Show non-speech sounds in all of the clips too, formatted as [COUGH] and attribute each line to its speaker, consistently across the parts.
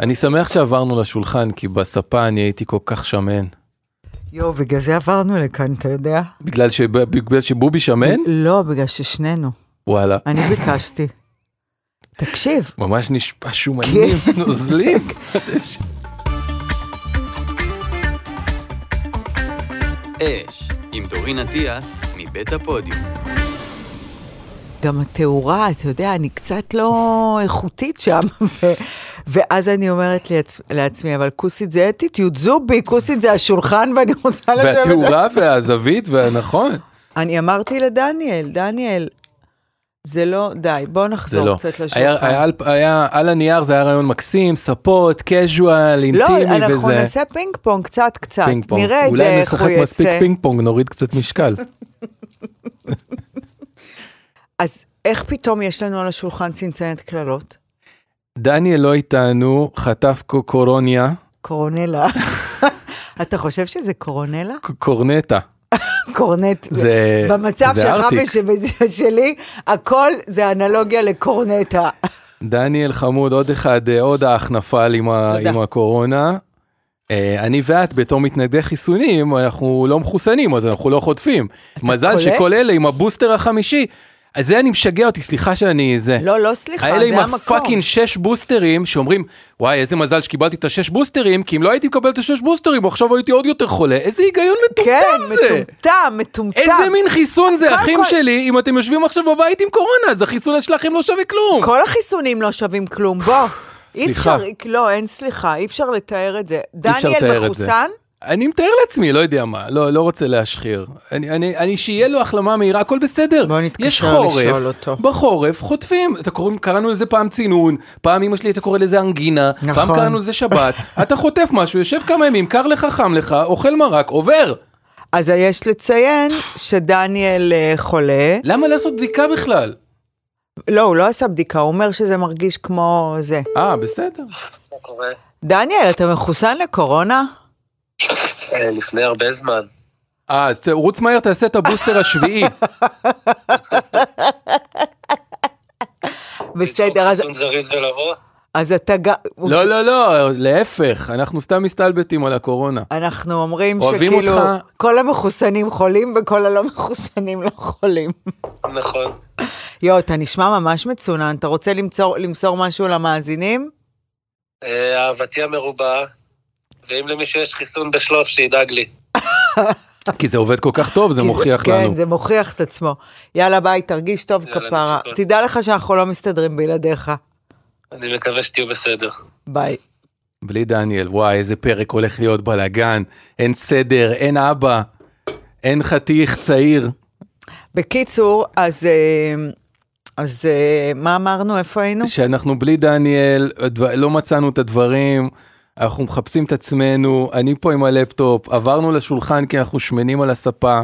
Speaker 1: אני שמח שעברנו לשולחן, כי בספה אני הייתי כל כך שמן.
Speaker 2: יואו, בגלל זה עברנו לכאן, אתה יודע?
Speaker 1: בגלל, ש... בגלל שבובי שמן?
Speaker 2: לא, בגלל ששנינו.
Speaker 1: וואלה.
Speaker 2: אני ביקשתי. תקשיב,
Speaker 1: ממש נשפע שומנים,
Speaker 2: כן. [LAUGHS]
Speaker 1: נוזלים.
Speaker 3: אש, עם דורין אטיאס, מבית הפודיום.
Speaker 2: גם התאורה, אתה יודע, אני קצת לא איכותית שם. ו- ואז אני אומרת לעצ... לעצמי, אבל כוסית זה אטיטיוד זובי, כוסית זה השולחן ואני רוצה לשבת...
Speaker 1: והתאורה והזווית, נכון. והנכון.
Speaker 2: אני אמרתי לדניאל, דניאל, זה לא, די, בוא
Speaker 1: זה
Speaker 2: נחזור
Speaker 1: לא.
Speaker 2: קצת לשולחן.
Speaker 1: היה, היה, על- היה, על הנייר זה היה רעיון מקסים, ספות, קז'ואל,
Speaker 2: לא,
Speaker 1: אינטימי
Speaker 2: אנחנו
Speaker 1: וזה.
Speaker 2: נעשה פינג פונג, קצת קצת.
Speaker 1: פינג פונג.
Speaker 2: נראה את זה,
Speaker 1: אולי
Speaker 2: איך הוא
Speaker 1: נשחק
Speaker 2: יצא.
Speaker 1: מספיק פינג פונג, נוריד קצת משקל.
Speaker 2: אז איך פתאום יש לנו על השולחן צנצנת קללות?
Speaker 1: דניאל לא איתנו, חטף קו- קורוניה, [LAUGHS]
Speaker 2: קורונלה. אתה חושב שזה קורונלה?
Speaker 1: ק- קורנטה.
Speaker 2: קורנט.
Speaker 1: זה
Speaker 2: במצב
Speaker 1: זה
Speaker 2: שלך
Speaker 1: ארטיק.
Speaker 2: ושלי, הכל זה אנלוגיה לקורנטה.
Speaker 1: דניאל חמוד, עוד אחד, אה, עוד האח נפל עם, ה,
Speaker 2: תודה.
Speaker 1: עם הקורונה. אה, אני ואת בתור מתנגדי חיסונים, אנחנו לא מחוסנים, אז אנחנו לא חוטפים. מזל
Speaker 2: קולט?
Speaker 1: שכל אלה עם הבוסטר החמישי, אז זה אני משגע אותי, סליחה שאני זה.
Speaker 2: לא, לא, סליחה,
Speaker 1: האלה
Speaker 2: זה
Speaker 1: עם
Speaker 2: המקום.
Speaker 1: הפאקינג שש בוסטרים שאומרים וואי איזה מזל שקיבלתי את השש בוסטרים כי אם לא הייתי מקבל את השש בוסטרים עכשיו הייתי עוד יותר חולה איזה היגיון מטומטם זה.
Speaker 2: כן, מטומטם, מטומטם.
Speaker 1: איזה מין חיסון זה
Speaker 2: קודם
Speaker 1: אחים
Speaker 2: כל-
Speaker 1: שלי אם אתם יושבים עכשיו בבית עם קורונה אז החיסון שלכם לא שווה כלום.
Speaker 2: כל החיסונים לא שווים כלום, בוא. אי
Speaker 1: סליחה.
Speaker 2: אפשר, לא, אין סליחה, אי אפשר לתאר את זה. דניאל
Speaker 1: לתאר את זה.
Speaker 2: מחוסן?
Speaker 1: אני מתאר לעצמי לא יודע מה לא לא רוצה להשחיר אני אני אני שיהיה לו החלמה מהירה הכל בסדר
Speaker 2: בוא נתקשר
Speaker 1: יש חורף
Speaker 2: לשאול אותו.
Speaker 1: בחורף חוטפים אתה קוראים קראנו לזה פעם צינון פעם אמא שלי הייתה קורא לזה אנגינה
Speaker 2: נכון.
Speaker 1: פעם קראנו לזה
Speaker 2: [LAUGHS]
Speaker 1: שבת אתה חוטף משהו יושב כמה ימים קר לך חם לך אוכל מרק עובר
Speaker 2: אז יש לציין שדניאל אה, חולה.
Speaker 1: למה לעשות בדיקה בכלל
Speaker 2: לא, הוא לא עשה בדיקה, הוא אומר שזה מרגיש כמו זה.
Speaker 1: אה בסדר
Speaker 4: מה קורה?
Speaker 2: דניאל, אתה מחוסן לקורונה?
Speaker 4: אה, לפני הרבה זמן.
Speaker 1: אה, אז ת- רוץ מהר תעשה את הבוסטר
Speaker 2: [LAUGHS]
Speaker 1: השביעי
Speaker 2: בסדר, אז,
Speaker 4: חיסון זריז ולבוא?
Speaker 2: אז אתה גם...
Speaker 1: לא לא לא להפך אנחנו סתם מסתלבטים על הקורונה.
Speaker 2: אנחנו אומרים
Speaker 1: אוהבים
Speaker 2: שכאילו
Speaker 1: אותך.
Speaker 2: כל המחוסנים חולים וכל הלא מחוסנים לא חולים.
Speaker 4: נכון.
Speaker 2: יואו, אתה נשמע ממש מצונן, אתה רוצה למצוא, למסור משהו למאזינים?
Speaker 4: אה, אהבתי המרובה, ואם למישהו יש חיסון בשלוף, שידאג לי.
Speaker 1: כי זה עובד כל כך טוב זה
Speaker 2: כי
Speaker 1: מוכיח
Speaker 2: כן,
Speaker 1: לנו.
Speaker 2: כן, זה מוכיח את עצמו. יאללה ביי, תרגיש טוב
Speaker 4: יאללה,
Speaker 2: כפרה.
Speaker 4: נשיקות.
Speaker 2: תדע לך שאנחנו לא מסתדרים בלעדיך.
Speaker 4: אני מקווה שתהיו בסדר.
Speaker 2: ביי.
Speaker 1: בלי דניאל, וואי, איזה פרק הולך להיות בלאגן, אין סדר, אין אבא, אין חתיך צעיר.
Speaker 2: בקיצור, אז, אה, אז אה, מה אמרנו? איפה היינו?
Speaker 1: שאנחנו בלי דניאל, הדבר- לא מצאנו את הדברים, אנחנו מחפשים את עצמנו, אני פה עם הלפטופ, עברנו לשולחן כי אנחנו שמנים על הספה.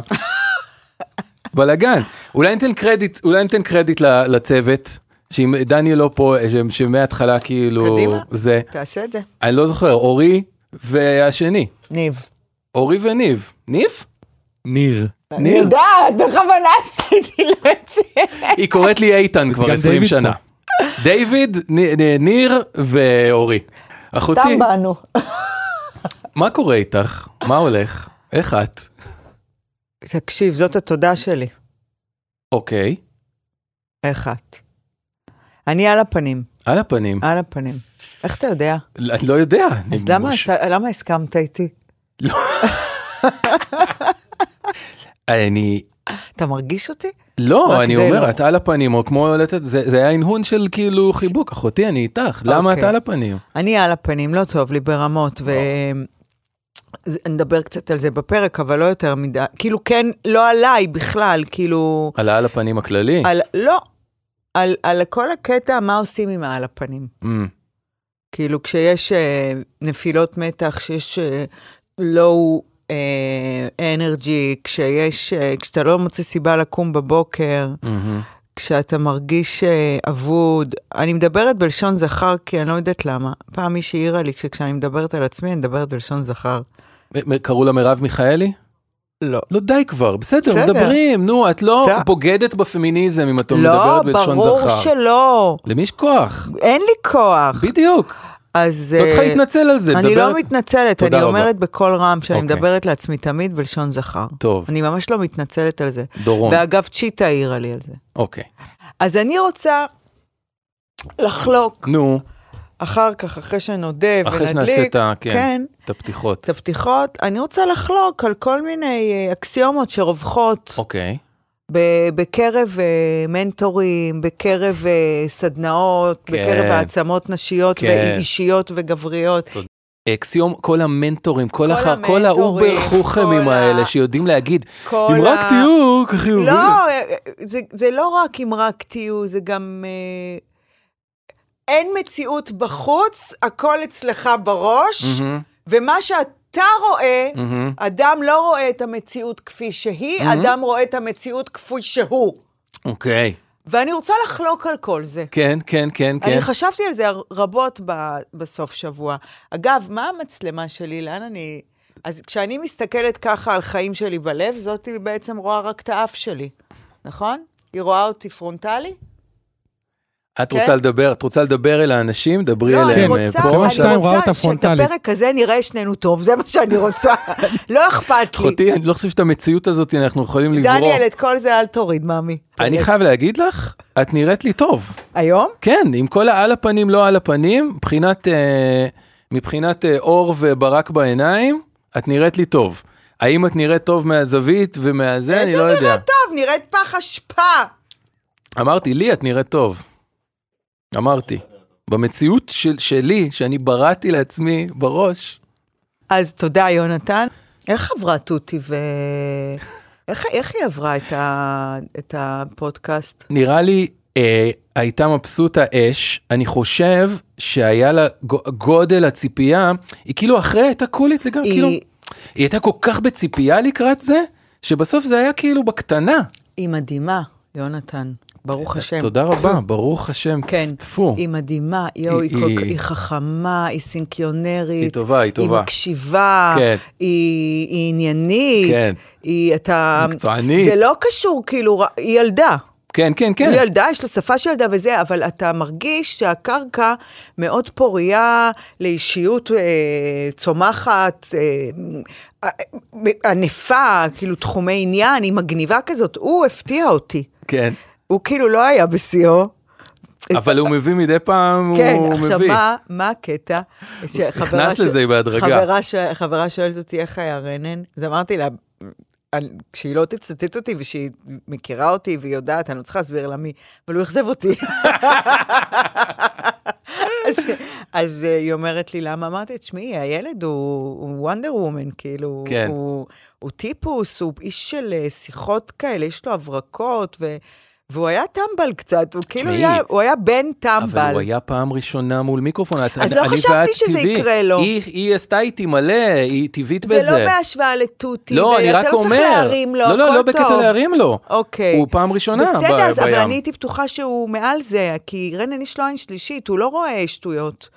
Speaker 1: בלאגן. אולי ניתן קרדיט, אולי ניתן קרדיט ל- לצוות, שאם דניאל לא פה, ש- שמההתחלה כאילו,
Speaker 2: קדימה.
Speaker 1: זה,
Speaker 2: תעשה את זה.
Speaker 1: אני לא זוכר, אורי והשני,
Speaker 2: ניב.
Speaker 1: אורי וניב, ניב? ניר.
Speaker 5: ניר.
Speaker 2: אני יודעת, בכוונה עשיתי לו את זה.
Speaker 1: היא קוראת לי איתן כבר
Speaker 5: גם
Speaker 1: 20
Speaker 5: דיוויד
Speaker 1: שנה. דיוויד, נ- נ- ניר ואורי. אחותי,
Speaker 2: באנו.
Speaker 1: מה קורה איתך? מה הולך? איך את?
Speaker 2: תקשיב, זאת התודה שלי.
Speaker 1: אוקיי,
Speaker 2: איך את? אני על הפנים,
Speaker 1: על הפנים.
Speaker 2: על הפנים. איך אתה יודע?
Speaker 1: לא- אני לא יודע. אני
Speaker 2: אז למה,
Speaker 1: ממש-
Speaker 2: עשה- למה הסכמת איתי?
Speaker 1: אני...
Speaker 2: אתה מרגיש אותי? רק
Speaker 1: לא, אני
Speaker 2: זה
Speaker 1: אומר,
Speaker 2: לא.
Speaker 1: את על הפנים, או כמו לתת, זה זה היה הנהון של כאילו חיבוק, אחותי, אני איתך, למה את
Speaker 2: אוקיי.
Speaker 1: על הפנים?
Speaker 2: אני על הפנים, לא טוב לי ברמות, ו... זה- נדבר קצת על זה בפרק, אבל לא יותר מדי. כאילו, כן, לא עליי בכלל, כאילו...
Speaker 1: על העל הפנים הכללי?
Speaker 2: על... לא. על, על כל הקטע, מה עושים עם העל הפנים.
Speaker 1: אמ,
Speaker 2: כאילו כשיש אה, נפילות מתח, כשיש אה, לואו אנרג'י, כשיש, אה, כשאתה לא מוצא סיבה לקום בבוקר,
Speaker 1: אמ,
Speaker 2: כשאתה מרגיש אה, אבוד, אני מדברת בלשון זכר כי אני לא יודעת למה. פעם מישהי העירה לי שכשאני מדברת על עצמי, אני מדברת בלשון זכר.
Speaker 1: מ- מ- קראו לה מרב מיכאלי?
Speaker 2: לא.
Speaker 1: לא, די כבר, בסדר,
Speaker 2: בסדר.
Speaker 1: מדברים, נו, את לא
Speaker 2: אתה-
Speaker 1: בוגדת בפמיניזם אם את
Speaker 2: לא,
Speaker 1: מדברת בלשון זכר.
Speaker 2: ברור שלא. [LAUGHS]
Speaker 1: למי יש כוח?
Speaker 2: אין לי כוח.
Speaker 1: בדיוק.
Speaker 2: אז...
Speaker 1: לא צריכה
Speaker 2: אה,
Speaker 1: להתנצל על זה.
Speaker 2: אני
Speaker 1: דבר-
Speaker 2: לא מתנצלת,
Speaker 1: תודה
Speaker 2: אני
Speaker 1: רבה.
Speaker 2: אומרת בקול רם שאני
Speaker 1: אוקיי.
Speaker 2: מדברת לעצמי תמיד בלשון זכר.
Speaker 1: טוב.
Speaker 2: אני ממש לא מתנצלת על זה.
Speaker 1: דורון,
Speaker 2: ואגב, צ'יטה העירה לי על זה.
Speaker 1: אוקיי.
Speaker 2: אז אני רוצה לחלוק
Speaker 1: נו,
Speaker 2: אחר כך, אחרי שנודה ונדליק,
Speaker 1: אחרי שנעשה את ה- כן,
Speaker 2: כן,
Speaker 1: את הפתיחות.
Speaker 2: את הפתיחות, אני רוצה לחלוק על כל מיני אה, אקסיומות שרווחות
Speaker 1: אוקיי.
Speaker 2: ב- בקרב אה, מנטורים, בקרב אה, סדנאות,
Speaker 1: כן.
Speaker 2: בקרב העצמות נשיות
Speaker 1: כן.
Speaker 2: ואישיות וגבריות.
Speaker 1: אקסיום, כל המנטורים, כל
Speaker 2: כל
Speaker 1: אחר, כל
Speaker 2: המנטורים,
Speaker 1: האובר חוכמים
Speaker 2: כל ה-
Speaker 1: האלה שיודעים להגיד,
Speaker 2: כל
Speaker 1: אם
Speaker 2: ה-
Speaker 1: רק תהיו כחיובי.
Speaker 2: לא, אה, זה, זה לא רק אם רק תהיו, זה גם... אה, אין מציאות בחוץ, הכל אצלך בראש,
Speaker 1: מהמם,
Speaker 2: ומה שאתה רואה,
Speaker 1: מהמם.
Speaker 2: אדם לא רואה את המציאות כפי שהיא, אדם רואה את המציאות כפי שהוא.
Speaker 1: אוקיי.
Speaker 2: ואני רוצה לחלוק על כל זה.
Speaker 1: כן, כן, כן,
Speaker 2: כן.
Speaker 1: כן.
Speaker 2: אני חשבתי על זה רבות ב, בסוף שבוע. אגב, מה המצלמה שלי? לאן אני... אז כשאני מסתכלת ככה על חיים שלי בלב, זאת היא בעצם רואה רק את האף שלי, נכון? היא רואה אותי פרונטלי?
Speaker 1: את רוצה לדבר, את רוצה לדבר אל האנשים? דברי
Speaker 2: כן? לא, אני
Speaker 1: אליהם אה,
Speaker 2: רוצה,
Speaker 1: פה.
Speaker 2: אני
Speaker 5: שתיים רואה
Speaker 2: רוצה
Speaker 5: אותה
Speaker 2: שאת
Speaker 5: פרונטלית.
Speaker 2: הפרק הזה נראה שנינו טוב, זה מה שאני
Speaker 1: [LAUGHS]
Speaker 2: רוצה. לא אכפת לי.
Speaker 1: אחותי, אני לא חושב שאת המציאות הזאת אנחנו יכולים לברוא.
Speaker 2: דניאל, את כל זה אל תוריד, מאמי.
Speaker 1: אני חייב להגיד לך, את נראית לי טוב.
Speaker 2: היום?
Speaker 1: כן, עם כל העל הפנים, לא על הפנים, מבחינת, אה, מבחינת אה, אור וברק בעיניים, את נראית לי טוב. האם את נראית טוב מהזווית ומהזה, אני לא
Speaker 2: איזה
Speaker 1: יודע.
Speaker 2: נראה טוב, נראית פח אשפה.
Speaker 1: אמרתי, לי את נראית טוב. אמרתי. במציאות של, שלי, שאני בראתי לעצמי בראש,
Speaker 2: אז תודה, יונתן. איך עברה תותי ו... איך, איך היא עברה את, ה... את הפודקאסט?
Speaker 1: נראה לי אה, הייתה מבסוטה אש. אני חושב שהיה לה גו- גודל הציפייה, היא כאילו אחרי הייתה קולית לגמרי,
Speaker 2: היא-
Speaker 1: כאילו, היא הייתה כל כך בציפייה לקראת זה, שבסוף זה היה כאילו בקטנה.
Speaker 2: היא מדהימה, יונתן, ברוך השם.
Speaker 1: תודה רבה, ברוך השם,
Speaker 2: כן,
Speaker 1: טפו.
Speaker 2: היא מדהימה, יואו, היא,
Speaker 1: היא-
Speaker 2: היא, היא,
Speaker 1: היא-
Speaker 2: היא חכמה, היא סינקיונרית.
Speaker 1: היא טובה, היא טובה.
Speaker 2: היא מקשיבה,
Speaker 1: כן.
Speaker 2: היא, היא עניינית.
Speaker 1: כן.
Speaker 2: היא, אתה...
Speaker 1: מקצוענית.
Speaker 2: זה לא קשור, כאילו, ר- היא ילדה.
Speaker 1: כן, כן,
Speaker 2: היא
Speaker 1: כן.
Speaker 2: ילדה, יש לה שפה של ילדה וזה, אבל אתה מרגיש שהקרקע מאוד פורייה לאישיות אה, צומחת, אה, אה, ענפה, כאילו תחומי עניין, היא מגניבה כזאת. הוא הפתיע אותי. [LAUGHS]
Speaker 1: כן.
Speaker 2: הוא כאילו לא היה בשיאו.
Speaker 1: אבל הוא מביא מדי פעם,
Speaker 2: כן,
Speaker 1: כאילו, הוא מביא.
Speaker 2: עכשיו מה, מה הקטע? שחברה
Speaker 1: נכנס
Speaker 2: ש-
Speaker 1: לזה בהדרגה.
Speaker 2: חברה, ש... חברה שואלת אותי איך היה רנן, אז אמרתי לה, אני- שהיא לא תצטט אותי ושהיא מכירה אותי והיא יודעת, אני לא צריכה להסביר לה מי, אבל הוא אכזב
Speaker 1: [LAUGHS]
Speaker 2: אותי. אז, אז אה, היא אומרת לי, למה? אמרתי, תשמעי, הילד הוא וונדר וומן, כאילו,
Speaker 1: כן.
Speaker 2: הוא, הוא טיפוס, הוא איש של אה, שיחות כאלה, יש לו הברקות, ו... והוא היה טמבל קצת, הוא כאילו
Speaker 1: תשמעי,
Speaker 2: היה, הוא היה בן טמבל.
Speaker 1: אבל הוא היה פעם ראשונה מול מיקרופון. את-
Speaker 2: אז
Speaker 1: אני-
Speaker 2: לא
Speaker 1: אני
Speaker 2: חשבתי
Speaker 1: ואת
Speaker 2: שזה
Speaker 1: טבעי.
Speaker 2: יקרה לו.
Speaker 1: היא- היא עשתה איתי מלא, היא טבעית
Speaker 2: זה
Speaker 1: בזה.
Speaker 2: לא בהשוואה לתותי,
Speaker 1: לא, אני רק
Speaker 2: ואתה לא צריך
Speaker 1: אומר.
Speaker 2: להרים לו,
Speaker 1: לא,
Speaker 2: הכל
Speaker 1: לא, לא בקטע
Speaker 2: טוב.
Speaker 1: להרים לו.
Speaker 2: אוקיי.
Speaker 1: הוא פעם ראשונה ב-
Speaker 2: בסדר, אז- אבל
Speaker 1: בים.
Speaker 2: אני הייתי בטוחה שהוא מעל זה, כי רנן יש לו עין שלישית, הוא לא רואה שטויות.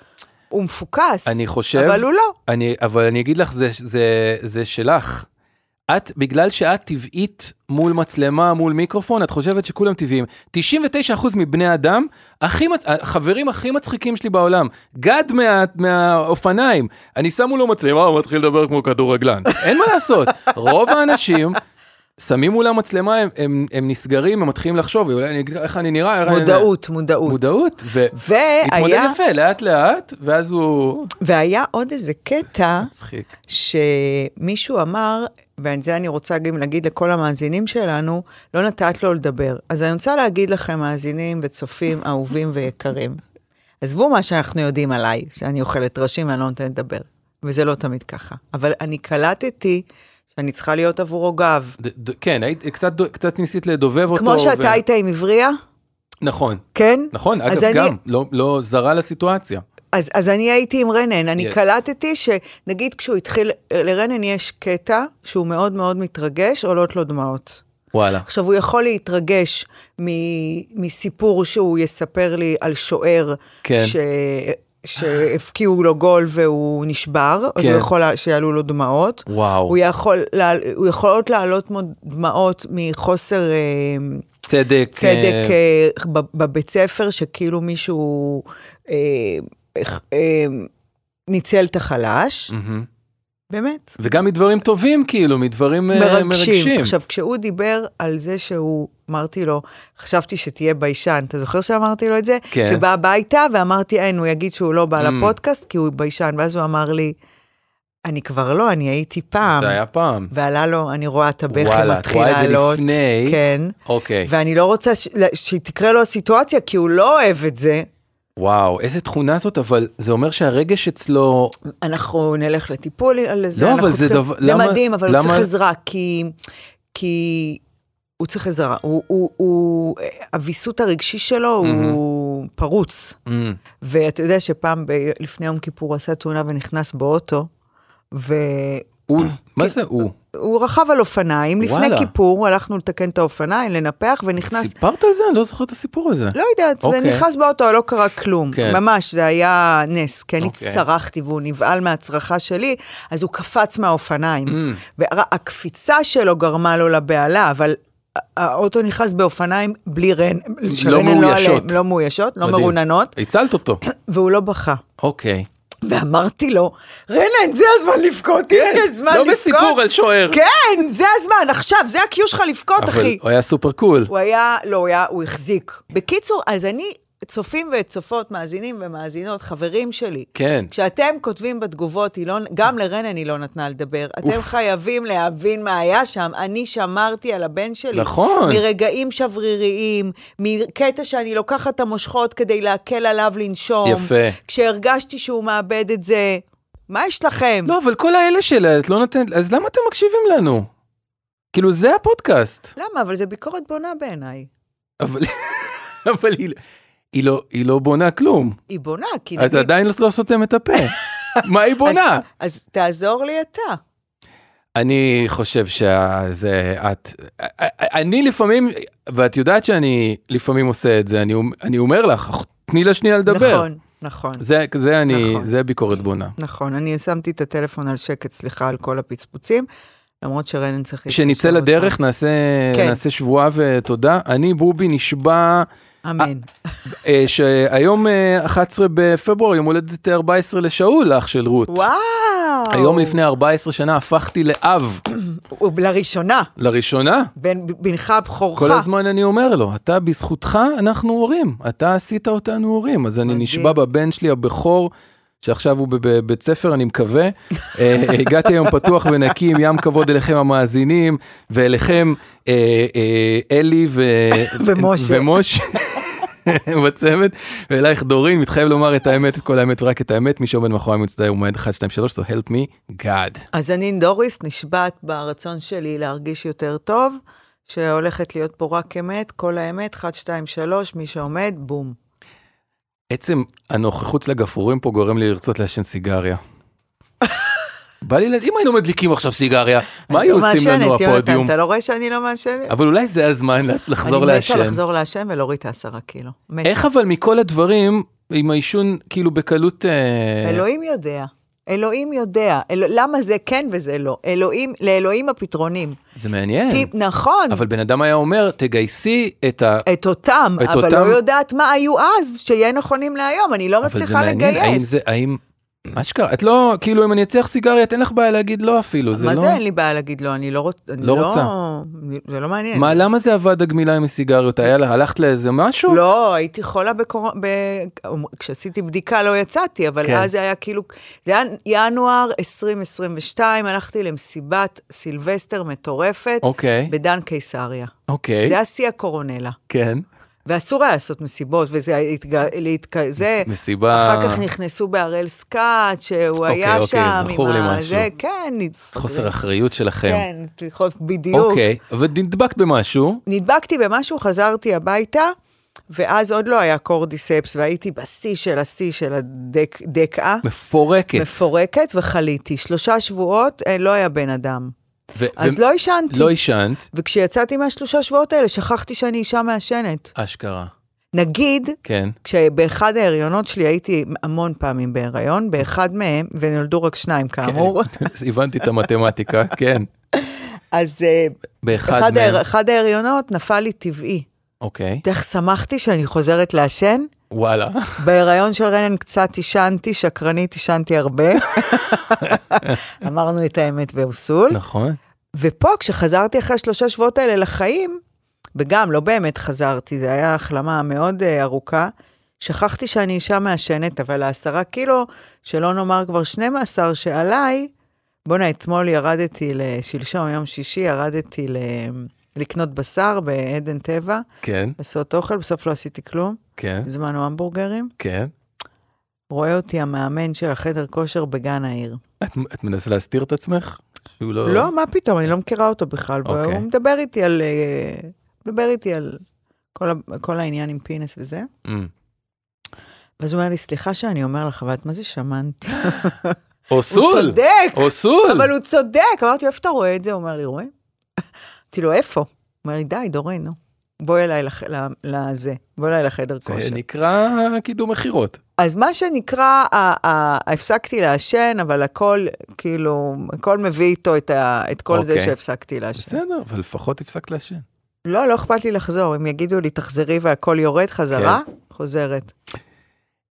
Speaker 2: הוא מפוקס.
Speaker 1: אני חושב...
Speaker 2: אבל הוא לא.
Speaker 1: אני, אבל אני אגיד לך, זה, זה, זה שלך. את, בגלל שאת טבעית מול מצלמה, מול מיקרופון, את חושבת שכולם טבעיים. 99% מבני אדם, הכי מצ... החברים הכי מצחיקים שלי בעולם. גד מה... מהאופניים, אני שם מולו מצלמה, הוא מתחיל לדבר כמו כדורגלן. [LAUGHS] אין מה לעשות, רוב האנשים... שמים מולם מצלמה, הם, הם, הם נסגרים, הם מתחילים לחשוב, אולי אני אגיד לך, איך אני נראה, איך אני-
Speaker 2: מודעות, מודעות.
Speaker 1: מודעות, והתמודד
Speaker 2: והיה,
Speaker 1: יפה, לאט לאט, ואז הוא...
Speaker 2: והיה עוד איזה קטע
Speaker 1: מצחיק.
Speaker 2: שמישהו אמר, ואת זה אני רוצה גם להגיד לכל המאזינים שלנו, לא נתת לו לדבר. אז אני רוצה להגיד לכם, מאזינים וצופים [LAUGHS] אהובים ויקרים, עזבו מה שאנחנו יודעים עליי, שאני אוכלת ראשים ואני לא נותנת לדבר, וזה לא תמיד ככה. אבל אני קלטתי שאני צריכה להיות עבורו גב.
Speaker 1: ד, ד, כן, היית, קצת, דו- קצת ניסית לדובב אותו.
Speaker 2: כמו שאתה היית עם עברייה,
Speaker 1: נכון,
Speaker 2: כן?
Speaker 1: אה. נכון, אגב,
Speaker 2: אז
Speaker 1: גם,
Speaker 2: אני-
Speaker 1: לא, לא זרה לסיטואציה.
Speaker 2: אז, אז אני הייתי עם רנן, אני
Speaker 1: Yes.
Speaker 2: yes. קלטתי שנגיד כשהוא התחיל, לרנן יש קטע שהוא מאוד מאוד מתרגש, עולות לו דמעות.
Speaker 1: וואלה.
Speaker 2: עכשיו, הוא יכול להתרגש מ, מסיפור שהוא יספר לי על שוער
Speaker 1: כן.
Speaker 2: ש, שהפקיעו לו גול והוא נשבר, אז
Speaker 1: כן.
Speaker 2: הוא יכול לה- שיעלו לו דמעות.
Speaker 1: וואו.
Speaker 2: הוא יכול, לה- הוא יכולות לעלות מו- דמעות מחוסר אה,
Speaker 1: צדק.
Speaker 2: צדק
Speaker 1: אה,
Speaker 2: אה, ב- בבית ספר, שכאילו מישהו אה, אה, ניצל את החלש,
Speaker 1: מהמם.
Speaker 2: באמת.
Speaker 1: וגם מדברים טובים, כאילו, מדברים אה,
Speaker 2: מרגשים.
Speaker 1: מרגשים.
Speaker 2: עכשיו, כשהוא דיבר על זה שהוא, אמרתי לו, חשבתי שתהיה ביישן, אתה זוכר שאמרתי לו את זה?
Speaker 1: כן.
Speaker 2: שבא הביתה ואמרתי, אין, הוא יגיד שהוא לא בא
Speaker 1: Mm.
Speaker 2: לפודקאסט כי הוא ביישן, ואז הוא אמר לי, אני כבר לא, אני הייתי פעם.
Speaker 1: זה היה פעם.
Speaker 2: ועלה לו, אני רואה את הבכי
Speaker 1: וואלה, את
Speaker 2: מתחיל
Speaker 1: רואה את זה
Speaker 2: לעלות.
Speaker 1: לפני.
Speaker 2: כן.
Speaker 1: אוקיי.
Speaker 2: ואני לא רוצה ש... שתקרה לו הסיטואציה, כי הוא לא אוהב את זה.
Speaker 1: וואו, איזה תכונה זאת, אבל זה אומר שהרגש
Speaker 2: [CLEARS THROAT]
Speaker 1: אצלו...
Speaker 2: אנחנו נלך לטיפול על זה.
Speaker 1: לא,
Speaker 2: אנחנו
Speaker 1: אבל זה
Speaker 2: צריכים-
Speaker 1: דבר-
Speaker 2: זה
Speaker 1: למה-
Speaker 2: מדהים, אבל הוא
Speaker 1: למה-
Speaker 2: צריך עזרה, כי... כי... הוא צריך עזרה, הוא, הוא, הוא, הוויסות הרגשי שלו mm-hmm. הוא פרוץ.
Speaker 1: אמ,
Speaker 2: ואתה יודע שפעם ב, לפני יום כיפור הוא עשה תאונה ונכנס באוטו, והוא
Speaker 1: הוא, מה זה הוא?
Speaker 2: רכב על אופניים, לפני
Speaker 1: וואלה.
Speaker 2: כיפור הלכנו לתקן את האופניים, לנפח, ונכנס
Speaker 1: סיפרת על זה? אני לא זוכר את הסיפור הזה.
Speaker 2: לא יודעת,
Speaker 1: אוקיי.
Speaker 2: ונכנס באוטו, לא קרה כלום.
Speaker 1: כן.
Speaker 2: ממש, זה היה נס, כי אני
Speaker 1: אוקיי.
Speaker 2: צרחתי והוא נבהל מהצרחה שלי, אז הוא קפץ
Speaker 1: Mm.
Speaker 2: מהאופניים. והקפיצה שלו גרמה לו לבהלה, אבל ה- האוטו נכנס באופניים בלי רן, שרנן לא
Speaker 1: מאוישות.
Speaker 2: עליהם, לא מאוישות, לא
Speaker 1: מדהים.
Speaker 2: מרוננות,
Speaker 1: הצלת
Speaker 2: [CLEARS THROAT]
Speaker 1: אותו.
Speaker 2: והוא לא בכה.
Speaker 1: אוקיי.
Speaker 2: ואמרתי לו, רנן, זה הזמן לבכות, אם יש זמן
Speaker 1: לא
Speaker 2: לבכות.
Speaker 1: בסיפור על שוער.
Speaker 2: כן, זה הזמן, עכשיו, זה ה-Q שלך לבכות,
Speaker 1: אבל
Speaker 2: אחי.
Speaker 1: הוא היה סופר קול.
Speaker 2: הוא היה, לא, הוא היה, הוא החזיק. בקיצור, אז אני, צופים וצופות, מאזינים ומאזינות, חברים שלי,
Speaker 1: כן.
Speaker 2: כשאתם כותבים בתגובות, היא לא, גם לרנן היא לא נתנה לדבר. אתם חייבים להבין מה היה שם. אני שמרתי על הבן שלי.
Speaker 1: נכון.
Speaker 2: מרגעים שבריריים, מקטע שאני לוקחת את המושכות כדי להקל עליו לנשום.
Speaker 1: יפה.
Speaker 2: כשהרגשתי שהוא מאבד את זה, מה יש לכם?
Speaker 1: לא, אבל כל האלה שלה, את לא נותנת, אז למה אתם מקשיבים לנו? כאילו, זה הפודקאסט.
Speaker 2: למה? אבל זה ביקורת בונה בעיניי.
Speaker 1: אבל [LAUGHS] אבל היא- היא לא- היא לא בונה כלום.
Speaker 2: היא בונה, כי
Speaker 1: את עדיין לא סותם את
Speaker 2: [LAUGHS]
Speaker 1: הפה. מה היא בונה?
Speaker 2: אז, אז תעזור לי אתה.
Speaker 1: אני חושב שזה את, אני לפעמים, ואת יודעת שאני לפעמים עושה את זה, אני, אני אומר לך, תני לה שנייה לדבר.
Speaker 2: נכון, נכון.
Speaker 1: זה, זה אני,
Speaker 2: נכון.
Speaker 1: זה ביקורת בונה.
Speaker 2: נכון, אני שמתי את הטלפון על שקט, סליחה על כל הפצפוצים, למרות שרנן צריך... להתקשר
Speaker 1: כשנצא
Speaker 2: עוד
Speaker 1: לדרך נעשה,
Speaker 2: כן.
Speaker 1: נעשה שבועה ותודה. אני בובי נשבע
Speaker 2: פעם. אמן.
Speaker 1: אה, שהיום אה, 11 בפברואר, יום הולדת 14 לשאול, אח של רות.
Speaker 2: וואו!
Speaker 1: היום לפני 14 שנה הפכתי לאב,
Speaker 2: הוא לראשונה,
Speaker 1: לראשונה.
Speaker 2: בן- בנך בכורך.
Speaker 1: כל הזמן אני אומר לו, אתה בזכותך אנחנו הורים, אתה עשית אותנו הורים, אז אני
Speaker 2: מדהים.
Speaker 1: נשבע בבן שלי הבכור, שעכשיו הוא בב- בבית ספר, אני מקווה. [LAUGHS] אה, הגעתי היום פתוח ונקי עם ים כבוד אליכם המאזינים, ואליכם אה, אה, אלי ו...
Speaker 2: [LAUGHS] ומשה.
Speaker 1: ומשה. [LAUGHS] בצוות, ואלייך דורין, מתחייב לומר את האמת, את כל האמת ורק את האמת, מי שעומד מאחורי המצטער הוא מעד 1, 2, 3, so help me God.
Speaker 2: אז אני דוריס נשבעת ברצון שלי להרגיש יותר טוב, שהולכת להיות פה רק אמת, כל האמת, 1, 2, 3, מי שעומד, בום.
Speaker 1: עצם הנוכחות של הגפרורים פה גורם לי לרצות לעשן סיגריה. בא לי, לה- אם היינו מדליקים עכשיו סיגריה, מה היו
Speaker 2: לא
Speaker 1: עושים לנו
Speaker 2: מעשנת, יונתן,
Speaker 1: הפודיום?
Speaker 2: אתה לא רואה שאני לא מעשנת?
Speaker 1: אבל אולי זה הזמן לה- לחזור
Speaker 2: אני
Speaker 1: לעשן.
Speaker 2: מתה לחזור לעשן ולהוריד את העשרה קילו. מתה.
Speaker 1: איך אבל מכל הדברים, עם העישון כאילו בקלות... אה,
Speaker 2: אלוהים יודע. אלוהים יודע. אל... למה זה כן וזה לא? אלוהים, לאלוהים הפתרונים.
Speaker 1: זה מעניין.
Speaker 2: טיפ, נכון.
Speaker 1: אבל בן אדם היה אומר, תגייסי את ה...
Speaker 2: את אותם,
Speaker 1: את
Speaker 2: אבל לא
Speaker 1: אותם-
Speaker 2: יודעת מה היו אז, שיהיה נכונים להיום, אני לא
Speaker 1: אבל זה
Speaker 2: מצליחה
Speaker 1: מעניין, האם
Speaker 2: לגייס.
Speaker 1: זה... האם... אשכרה, את לא, כאילו אם אני אצליח סיגריות אין לך בעיה להגיד לא אפילו, זה
Speaker 2: מה
Speaker 1: לא,
Speaker 2: זה אין לי בעיה להגיד לא, אני לא רוצה,
Speaker 1: לא רוצה.
Speaker 2: זה לא מעניין.
Speaker 1: מה, למה זה עבד הגמילה עם הסיגריות, היה לה, הלכת לאיזה משהו?
Speaker 2: לא, הייתי חולה בקורונה, ב... כשעשיתי בדיקה לא יצאתי, אבל
Speaker 1: כן.
Speaker 2: כן. אז זה היה כאילו, זה היה ינואר 2022, הלכתי למסיבת סילבסטר מטורפת,
Speaker 1: אוקיי,
Speaker 2: בדן קיסריה.
Speaker 1: אוקיי,
Speaker 2: זה היה שיא הקורונלה.
Speaker 1: כן.
Speaker 2: ואסור היה לעשות מסיבות, וזה היה התג- להתק... זה...
Speaker 1: מסיבה...
Speaker 2: אחר כך נכנסו בהראל סקאט, שהוא
Speaker 1: אוקיי,
Speaker 2: היה
Speaker 1: אוקיי,
Speaker 2: שם,
Speaker 1: זכור לי משהו.
Speaker 2: זה, כן, נתפגרים.
Speaker 1: חוסר אחריות שלכם.
Speaker 2: כן, תלכות, בדיוק.
Speaker 1: אוקיי, ונדבקת במשהו,
Speaker 2: נדבקתי במשהו, חזרתי הביתה, ואז עוד לא היה קורדיספס, והייתי בשיא של השיא של הדקעה,
Speaker 1: מפורקת.
Speaker 2: מפורקת, וחליתי. שלושה שבועות אה, לא היה בן אדם.
Speaker 1: ו-
Speaker 2: אז
Speaker 1: ו-
Speaker 2: לא עישנתי.
Speaker 1: לא עישנת,
Speaker 2: וכשיצאתי מהשלושה שבועות האלה, שכחתי שאני אישה מעשנת.
Speaker 1: אשכרה.
Speaker 2: נגיד,
Speaker 1: כן.
Speaker 2: כשבאחד ההריונות שלי הייתי המון פעמים בהריון, באחד מהם, ונולדו רק שניים כאמור,
Speaker 1: כן. [LAUGHS] הבנתי את המתמטיקה, כן.
Speaker 2: אז אה,
Speaker 1: באחד
Speaker 2: אחד,
Speaker 1: מהם.
Speaker 2: ההר... אחד ההריונות נפל לי טבעי.
Speaker 1: אוקיי.
Speaker 2: איך שמחתי שאני חוזרת לעשן,
Speaker 1: וואלה. [LAUGHS]
Speaker 2: בהיריון של רנן קצת עישנתי, שקרנית, עישנתי הרבה. [LAUGHS] אמרנו את האמת באוסול.
Speaker 1: נכון.
Speaker 2: ופה, כשחזרתי אחרי השלושה שבועות האלה לחיים, וגם לא באמת חזרתי, זו הייתה החלמה מאוד אה, ארוכה, שכחתי שאני אישה מעשנת, אבל העשרה קילו, שלא נאמר כבר 12 שעליי, בואנה, אתמול ירדתי, לשלשום, יום שישי, ירדתי ל... לקנות בשר בעדן טבע,
Speaker 1: כן,
Speaker 2: לעשות אוכל, בסוף לא עשיתי כלום,
Speaker 1: כן,
Speaker 2: הזמנו המבורגרים.
Speaker 1: כן.
Speaker 2: רואה אותי המאמן של החדר כושר בגן העיר.
Speaker 1: את- את מנסה להסתיר את עצמך? שהוא לא...
Speaker 2: לא, מה פתאום, אני לא מכירה אותו בכלל.
Speaker 1: אוקיי.
Speaker 2: הוא מדבר איתי על... אה, מדבר איתי על כל, ה- כל העניין עם פינס וזה.
Speaker 1: אמ.
Speaker 2: ואז הוא אומר לי, סליחה שאני אומר לך, אבל את מה זה שמנת?
Speaker 1: אוסול!
Speaker 2: הוא צודק,
Speaker 1: אוסול!
Speaker 2: אבל הוא צודק. אמרתי לו, איפה אתה רואה את זה? הוא אומר לי, רואה? אמרתי לו, איפה? הוא אומר לי, די, דורין, נו. בואי אליי לח- ל- לזה, בואי אליי לחדר
Speaker 1: זה
Speaker 2: כושר.
Speaker 1: נקרא קידום מכירות.
Speaker 2: אז מה שנקרא, ה- ה- הפסקתי לעשן, אבל הכל, כאילו, הכל מביא איתו את, ה, את כל זה
Speaker 1: אוקיי.
Speaker 2: שהפסקתי לעשן.
Speaker 1: בסדר, אבל לפחות הפסקת לעשן.
Speaker 2: לא, לא אכפת לי לחזור, אם יגידו לי, תחזרי והכל יורד חזרה,
Speaker 1: כן.
Speaker 2: חוזרת.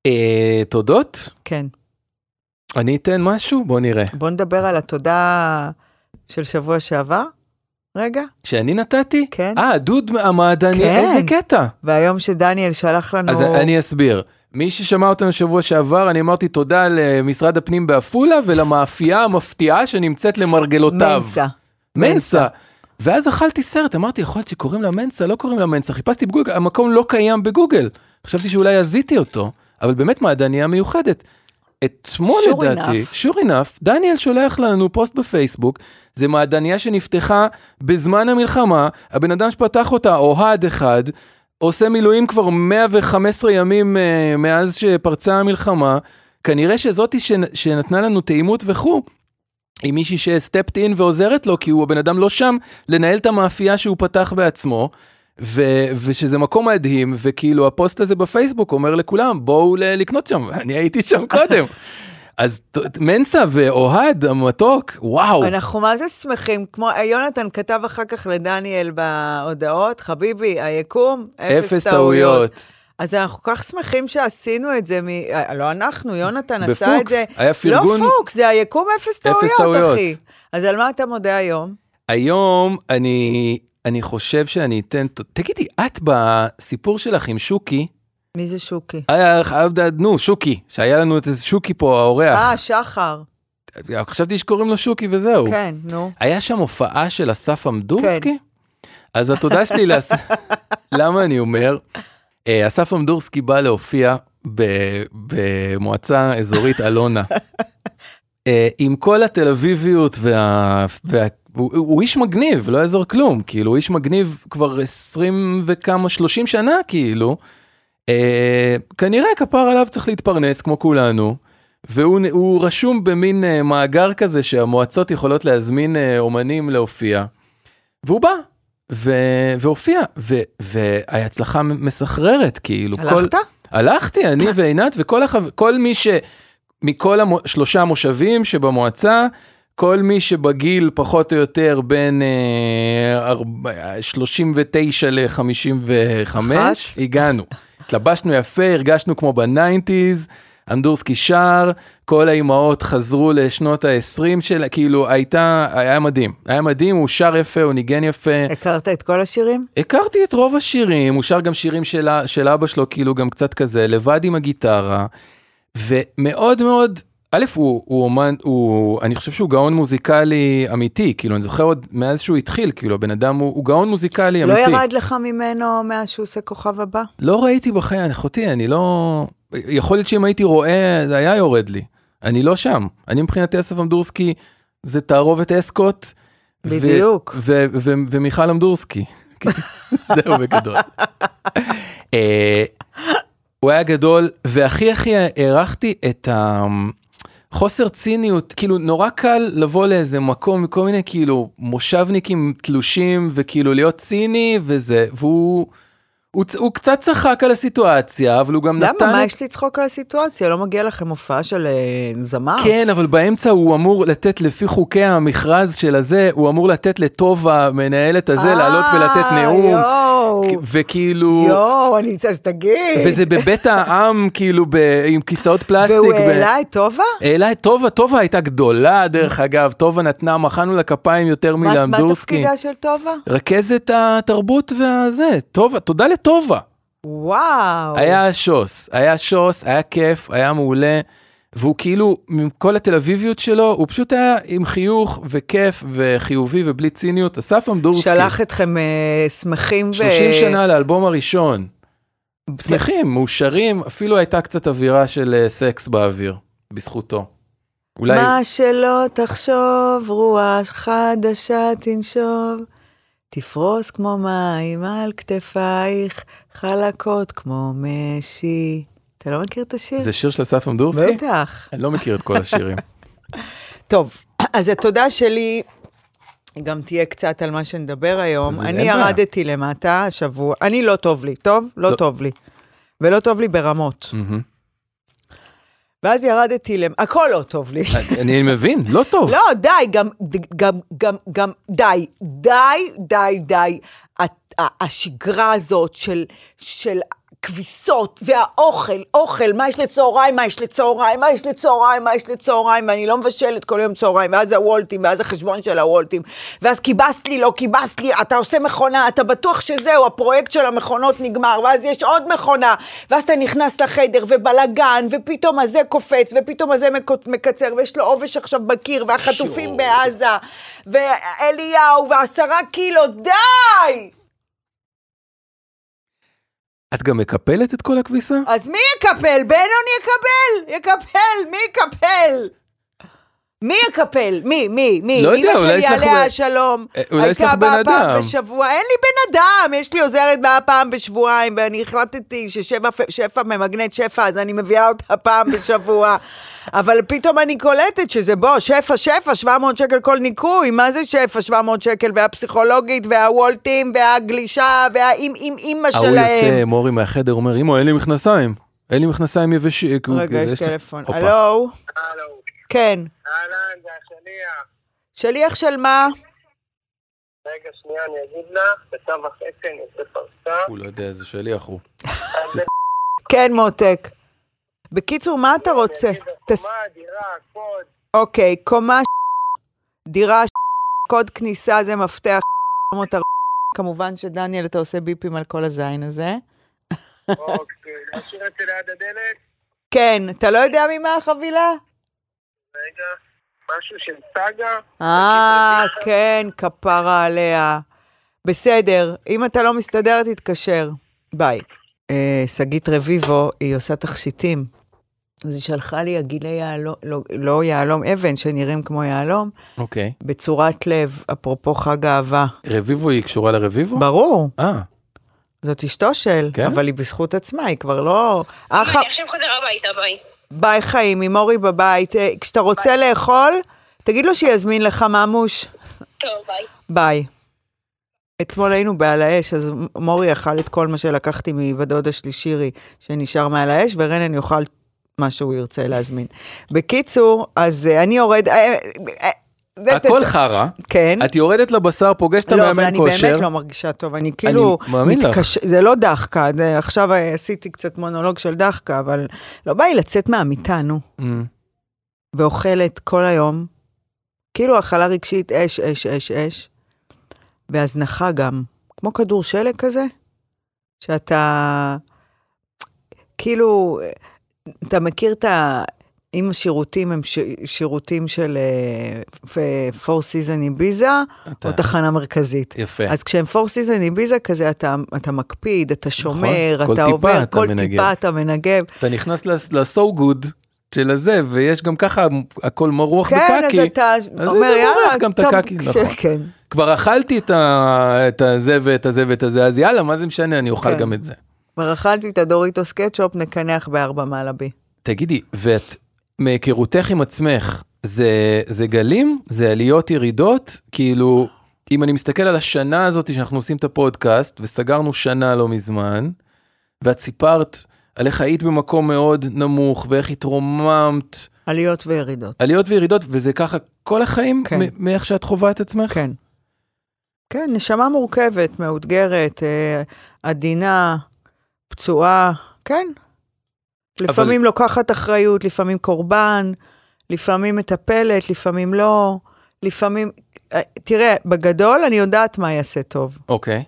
Speaker 1: אה, תודות?
Speaker 2: כן.
Speaker 1: אני אתן משהו? בוא נראה.
Speaker 2: בוא נדבר על התודה של שבוע שעבר, רגע.
Speaker 1: שאני נתתי?
Speaker 2: כן.
Speaker 1: אה, דוד המעדני,
Speaker 2: כן. לא.
Speaker 1: איזה קטע.
Speaker 2: והיום שדניאל שלח לנו...
Speaker 1: אז אני אסביר. מי ששמע אותנו שבוע שעבר, אני אמרתי תודה למשרד הפנים בעפולה ולמאפייה המפתיעה שנמצאת למרגלותיו.
Speaker 2: מנסה.
Speaker 1: מנסה. ואז אכלתי סרט, אמרתי, יכול להיות שקוראים לה מנסה, לא קוראים לה מנסה, חיפשתי בגוגל, המקום לא קיים בגוגל. חשבתי שאולי עזיתי אותו, אבל באמת מעדניה מיוחדת. אתמול
Speaker 2: Sure
Speaker 1: לדעתי,
Speaker 2: enough.
Speaker 1: שור אינף, דניאל שולח לנו פוסט בפייסבוק, זה מעדניה שנפתחה בזמן המלחמה, הבן אדם שפתח אותה, אוהד אחד, עושה מילואים כבר 115 ימים אה, מאז שפרצה המלחמה, כנראה שזאתי שנ, שנתנה לנו טעימות וכו', היא מישהי שסטפט אין ועוזרת לו, כי הוא הבן אדם לא שם לנהל את המאפייה שהוא פתח בעצמו. ו- ושזה מקום מדהים, וכאילו הפוסט הזה בפייסבוק אומר לכולם, בואו ל- לקנות שם, [LAUGHS] אני הייתי שם קודם.
Speaker 2: [LAUGHS]
Speaker 1: אז ת- מנסה ואוהד המתוק, וואו,
Speaker 2: אנחנו מה זה שמחים, כמו יונתן כתב אחר כך לדניאל בהודעות, חביבי, היקום,
Speaker 1: אפס טעויות.
Speaker 2: אז אנחנו כל כך שמחים שעשינו את זה, מ... אה, לא אנחנו, יונתן עשה
Speaker 1: בפוקס,
Speaker 2: את זה.
Speaker 1: היה פרגון-
Speaker 2: לא פוקס, זה היקום אפס טעויות,
Speaker 1: טעויות.
Speaker 2: אחי. אז על מה אתה מודה היום?
Speaker 1: היום אני, אני חושב שאני אתן, ת- תגידי, את בסיפור שלך עם שוקי,
Speaker 2: מי זה שוקי?
Speaker 1: היה חייב, לדעת- נו, שוקי, שהיה לנו את איזה שוקי פה, האורח,
Speaker 2: אה, שחר.
Speaker 1: חשבתי שקוראים לו שוקי וזהו.
Speaker 2: כן, נו.
Speaker 1: היה שם הופעה של אסף עמדורסקי? אז התודה שלי לאס... למה אני אומר? אה, אסף עמדורסקי בא להופיע ב- במועצה אזורית אלונה. אה, עם כל התל אביביות וה... וה... הוא, הוא איש מגניב, לא יעזור כלום, כאילו הוא איש מגניב כבר 20 וכמה, 30 שנה כאילו. אה, כנראה כפר עליו צריך להתפרנס כמו כולנו, והוא נ- הוא רשום במין אה, מאגר כזה שהמועצות יכולות להזמין אה, אומנים להופיע. והוא בא, ו, והופיע, ו, וההצלחה מסחררת, כאילו. כל-
Speaker 2: הלכת?
Speaker 1: הלכתי, אני ועינת וכל החב... כל מי ש... מכל השלושה המושבים שבמועצה, כל מי שבגיל פחות או יותר בין אה, ארבע- 39 ל-55,
Speaker 2: אחת.
Speaker 1: הגענו. התלבשנו יפה, הרגשנו כמו בניינטיז, אמדורסקי שר, כל האימהות חזרו לשנות ה-20 שלה, כאילו הייתה, היה מדהים. היה מדהים, הוא שר יפה, הוא ניגן יפה.
Speaker 2: הכרת את כל השירים?
Speaker 1: הכרתי את רוב השירים, הוא שר גם שירים של, ה- של אבא שלו, כאילו גם קצת כזה, לבד עם הגיטרה, ומאוד מאוד, א', הוא, הוא אומן, הוא, אני חושב שהוא גאון מוזיקלי אמיתי, כאילו, אני זוכר עוד מאז שהוא התחיל, כאילו, הבן אדם הוא, הוא גאון מוזיקלי
Speaker 2: לא
Speaker 1: כן, אמיתי.
Speaker 2: ירד לך ממנו מאז שהוא עושה כוכב הבא?
Speaker 1: לא ראיתי בחיי, אחותי, אני לא... יכול להיות שאם הייתי רואה, זה היה יורד לי. אני לא שם. אני מבחינתי אסף אמדורסקי, זה תערובת אסקוט. ו-
Speaker 2: בדיוק.
Speaker 1: ו- ו- ו- ומיכל אמדורסקי. [LAUGHS] זהו בגדול. אה, הוא היה גדול, והכי הכי הערכתי את החוסר ציניות, כאילו נורא קל לבוא לאיזה מקום, מכל מיני כאילו מושבניקים תלושים, וכאילו להיות ציני וזה, והוא... הוא, צ- הוא קצת צחק על הסיטואציה, אבל הוא גם
Speaker 2: למה?
Speaker 1: נתן...
Speaker 2: מה
Speaker 1: את-
Speaker 2: יש לצחוק על הסיטואציה? לא מגיע לכם הופעה של אה, זמר?
Speaker 1: כן, אבל באמצע הוא אמור לתת, לפי חוקי המכרז של הזה, הוא אמור לתת לטובה, מנהלת הזה, לעלות ולתת
Speaker 2: אה,
Speaker 1: נאום.
Speaker 2: יואו,
Speaker 1: וכאילו,
Speaker 2: יואו, אני, אז תגיד.
Speaker 1: וזה בבית העם, כאילו, ב- עם כיסאות פלסטיק.
Speaker 2: והוא
Speaker 1: ב-
Speaker 2: העלה את טובה?
Speaker 1: העלה את טובה, טובה הייתה גדולה דרך אגב, טובה נתנה, מחאנו לה כפיים יותר
Speaker 2: מה- מה
Speaker 1: מלמדורסקי.
Speaker 2: תפקידה של טובה?
Speaker 1: רכזת התרבות והזה, טובה, תודה לטובה.
Speaker 2: וואו.
Speaker 1: היה שוס, היה שוס, היה כיף, היה מעולה, והוא כאילו, עם כל התל אביביות שלו, הוא פשוט היה עם חיוך וכיף וחיובי ובלי ציניות, אסף אמדורסקי.
Speaker 2: שלח אתכם אה, שמחים ו...
Speaker 1: 30 שנה לאלבום הראשון. שמחים, מאושרים, אפילו הייתה קצת אווירה של אה, סקס באוויר, בזכותו. אולי...
Speaker 2: מה שלא תחשוב, רוח חדשה תנשוב, תפרוס כמו מים על כתפייך, חלקות כמו משי. אתה לא מכיר את השיר?
Speaker 1: זה שיר של אסף אמדורסקי?
Speaker 2: בטח.
Speaker 1: אני לא מכיר את כל השירים.
Speaker 2: טוב, אז התודה שלי גם תהיה קצת על מה שנדבר היום.
Speaker 1: זה
Speaker 2: אני
Speaker 1: אין בעיה.
Speaker 2: ירדתי למטה השבוע, אני לא טוב לי, טוב? לא,
Speaker 1: לא.
Speaker 2: טוב לי. ולא טוב לי ברמות.
Speaker 1: מהמם.
Speaker 2: ואז ירדתי למטה, הכל לא טוב לי.
Speaker 1: אני מבין, לא טוב.
Speaker 2: לא, די, גם, גם, גם, גם, די, די, די, די. ה- ה- השגרה הזאת של, של כביסות והאוכל, אוכל, מה יש לצהריים, מה יש לצהריים, מה יש לצהריים, מה יש לצהריים, ואני לא מבשלת כל יום צהריים, ואז הוולטים, ואז החשבון של הוולטים, ואז כיבסת לי, לא כיבסת לי, אתה עושה מכונה, אתה בטוח שזהו, הפרויקט של המכונות נגמר, ואז יש עוד מכונה, ואז אתה נכנס לחדר, ובלאגן, ופתאום הזה קופץ, ופתאום הזה מקו- מקצר, ויש לו עובש עכשיו בקיר, והחטופים בעזה, ואליהו, ועשרה קילו, די!
Speaker 1: את גם מקפלת את כל הכביסה?
Speaker 2: אז מי יקפל? בנון יקבל! יקפל! מי יקפל? מי יקפל? מי? מי? מי?
Speaker 1: לא יודע,
Speaker 2: אמא
Speaker 1: אולי יש
Speaker 2: שלי
Speaker 1: לך
Speaker 2: עליה
Speaker 1: אולי-
Speaker 2: השלום.
Speaker 1: אה, אולי יש לך
Speaker 2: הייתה
Speaker 1: בן
Speaker 2: באה פעם
Speaker 1: אדם.
Speaker 2: בשבוע. אין לי בן אדם, יש לי עוזרת באה פעם בשבועיים, ואני החלטתי ששפע שפע ממגנט שפע, אז אני מביאה אותה פעם בשבוע. [LAUGHS] אבל פתאום אני קולטת שזה בוא, שפע, שפע, 700 שקל כל ניקוי, מה זה שפע, 700 שקל, והפסיכולוגית, והוולטים, והגלישה, והאם אם אימא שלהם.
Speaker 1: ההוא יוצא, מורי מהחדר, אומר, אמא, אין לי מכנסיים. אין לי מכנסיים אה, יבשים.
Speaker 2: רגע, יש טלפון.
Speaker 1: כאילו, הופה.
Speaker 2: הלו?
Speaker 4: הלו,
Speaker 2: כן.
Speaker 4: אהלן, זה השליח.
Speaker 2: שליח של מה?
Speaker 4: רגע, שנייה, אני אגיד לך, בצו וחצי אני עושה פרסה.
Speaker 1: הוא לא יודע איזה שליח הוא.
Speaker 2: כן, מותק. בקיצור, מה אתה רוצה? תס-
Speaker 4: מה, דירה, קוד.
Speaker 2: אוקיי, קומה ש- דירה ש- קוד כניסה זה מפתח 400. כמובן שדניאל, אתה עושה ביפים על כל הזין הזה.
Speaker 4: אוקיי, להשאיר את זה ליד הדלת?
Speaker 2: כן, אתה לא יודע ממה החבילה?
Speaker 4: רגע, משהו של סאגה?
Speaker 2: אה, כן, כפרה עליה. בסדר, אם אתה לא מסתדר, תתקשר. ביי. אה, שגית רביבו, היא עושה תכשיטים. אז היא שלחה לי עגילי יהלום, לא, לא יהלום, אבן, שנראים כמו יהלום,
Speaker 1: אוקיי.
Speaker 2: בצורת לב, אפרופו חג האהבה.
Speaker 1: רביבו היא קשורה לרביבו?
Speaker 2: ברור,
Speaker 1: אה,
Speaker 2: זאת אשתו של,
Speaker 1: כן?
Speaker 2: אבל היא בזכות עצמה, היא כבר לא... אח...
Speaker 5: אני עכשיו חוזר הביתה, ביי.
Speaker 2: ביי חיים, עם אורי בבית. אה, כשאתה רוצה לאכול, תגיד לו שיזמין לך ממוש.
Speaker 5: טוב, ביי.
Speaker 2: ביי. אתמול היינו בעל האש, אז מורי אכל את כל מה שלקחתי מבת דודה שלי שירי, שנשאר מעל האש, ורנן יאכל מה שהוא ירצה להזמין. בקיצור, אז אה, אני יורד... אה, אה, זה-
Speaker 1: הכל חרא.
Speaker 2: כן.
Speaker 1: את יורדת לבשר, פוגשת את
Speaker 2: לא, אבל
Speaker 1: המאמן
Speaker 2: אני
Speaker 1: כושר.
Speaker 2: באמת לא מרגישה טוב, אני כאילו...
Speaker 1: מאמין לך.
Speaker 2: מתקש- זה לא דחקה, זה- עכשיו אה, עשיתי קצת מונולוג של דחקה, אבל לא בא לי לצאת מהמיטה, נו.
Speaker 1: אמ,
Speaker 2: ואוכלת כל היום, כאילו הכלה רגשית, אש, אש, אש, אש, והזנחה גם, כמו כדור שלג כזה, שאתה, כאילו, אתה מכיר את ה... אם השירותים הם ש... שירותים של אה, Four Season איביזה,
Speaker 1: אתה-
Speaker 2: או תחנה מרכזית.
Speaker 1: יפה.
Speaker 2: אז כשהם פור סיזן איביזה כזה, אתה, אתה מקפיד, אתה שומר,
Speaker 1: נכון, כל
Speaker 2: אתה
Speaker 1: טיפה
Speaker 2: עובר,
Speaker 1: אתה
Speaker 2: כל
Speaker 1: מנגב.
Speaker 2: טיפה אתה מנגב.
Speaker 1: אתה נכנס ל-so good של הזה, ויש גם ככה הכל מרוח
Speaker 2: כן,
Speaker 1: בקקי.
Speaker 2: אז אתה
Speaker 1: אז
Speaker 2: אומר,
Speaker 1: זה מורח
Speaker 2: יאללה,
Speaker 1: גם את
Speaker 2: טוב,
Speaker 1: הקקי,
Speaker 2: כש-
Speaker 1: נכון.
Speaker 2: כן.
Speaker 1: כבר אכלתי את ה- את הזה ואת הזה ואת הזה, אז יאללה, מה זה משנה, אני אוכל
Speaker 2: כן.
Speaker 1: גם את זה.
Speaker 2: כבר אכלתי את הדוריטוס קטשופ, נקנח בארבע מעלבי.
Speaker 1: תגידי, ואת, מהיכרותך עם עצמך, זה, זה גלים? זה עליות ירידות? כאילו, אם אני מסתכל על השנה הזאת שאנחנו עושים את הפודקאסט, וסגרנו שנה לא מזמן, ואת סיפרת על איך היית במקום מאוד נמוך, ואיך התרוממת,
Speaker 2: עליות וירידות.
Speaker 1: עליות וירידות, וזה ככה כל החיים,
Speaker 2: כן.
Speaker 1: מ- מאיך שאת חווה את עצמך?
Speaker 2: כן. כן, נשמה מורכבת, מאותגרת, אה, עדינה, פצועה, כן. לפעמים לוקחת אחריות, לפעמים קורבן, לפעמים מטפלת, לפעמים לא, לפעמים... אה, תראה, בגדול אני יודעת מה יעשה טוב,
Speaker 1: אוקיי.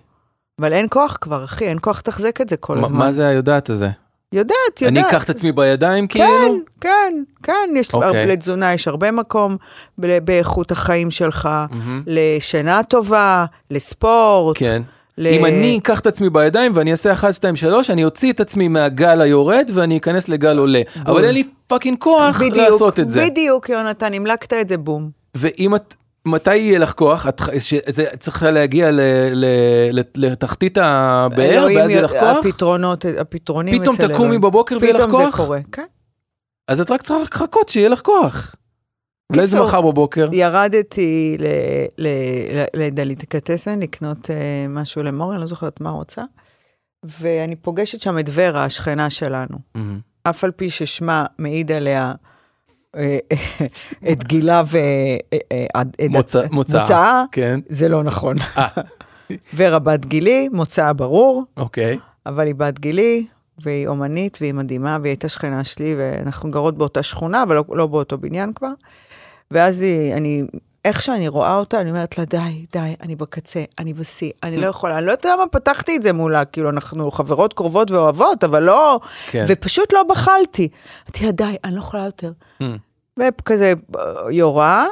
Speaker 2: אבל אין כוח כבר, אחי, אין כוח לתחזק את זה כל
Speaker 1: מה-
Speaker 2: הזמן.
Speaker 1: מה זה היודעת הזה?
Speaker 2: יודעת, יודעת.
Speaker 1: אני אקח את עצמי בידיים
Speaker 2: כן,
Speaker 1: כאילו?
Speaker 2: כן, כן, יש
Speaker 1: אוקיי.
Speaker 2: okay. לתזונה יש הרבה מקום ב- באיכות החיים שלך,
Speaker 1: מהמם.
Speaker 2: לשינה טובה, לספורט.
Speaker 1: כן.
Speaker 2: ל-
Speaker 1: אם אני אקח את עצמי בידיים ואני אעשה 1, 2, 3, אני אוציא את עצמי מהגל היורד ואני אכנס לגל עולה. אבל אין לי פאקינג כוח
Speaker 2: בדיוק,
Speaker 1: לעשות את זה.
Speaker 2: בדיוק, יונתן, המלקת את זה בום.
Speaker 1: ואם את, מתי יהיה לך כוח? את ח- שזה צריך להגיע ל, ל, ל, לתחתית הבאר
Speaker 2: אלוהים
Speaker 1: ואז יהיה לך
Speaker 2: יודע-
Speaker 1: כוח?
Speaker 2: הפתרונות, הפתרונים אצל
Speaker 1: פתאום תקומי
Speaker 2: אלוהים.
Speaker 1: בבוקר ויהיה לך
Speaker 2: פתאום
Speaker 1: כוח?
Speaker 2: זה קורה, כן.
Speaker 1: אז את רק צריכה רק לחכות שיהיה לך כוח. אולי זה
Speaker 2: קיצור,
Speaker 1: מחר בבוקר.
Speaker 2: ירדתי ל- ל- ל- לדליקטסן לקנות אה, משהו למור, אני לא זוכרת מה רוצה, ואני פוגשת שם את ורה, השכנה שלנו.
Speaker 1: מהמם.
Speaker 2: אף על פי ששמה מעיד עליה אה, אה, את גילה
Speaker 1: מוצא- מוצאה.
Speaker 2: ומוצאה,
Speaker 1: כן,
Speaker 2: זה לא נכון.
Speaker 1: אה.
Speaker 2: [LAUGHS] ורה בת גילי, מוצאה ברור,
Speaker 1: אוקיי.
Speaker 2: אבל היא בת גילי, והיא אומנית, והיא מדהימה, והיא הייתה שכנה שלי, ואנחנו גרות באותה שכונה, אבל לא, לא באותו בניין כבר. ואז היא, אני, איך שאני רואה אותה, אני אומרת לה, די, די, אני בקצה, אני בשיא, אני לא יכולה, אני לא יודעת למה פתחתי את זה מולה, כאילו, אנחנו חברות קרובות ואוהבות, אבל לא...
Speaker 1: כן.
Speaker 2: ופשוט לא בחלתי. אמרתי לה, די, אני לא יכולה יותר.
Speaker 1: Mm.
Speaker 2: וכזה אה, יורה,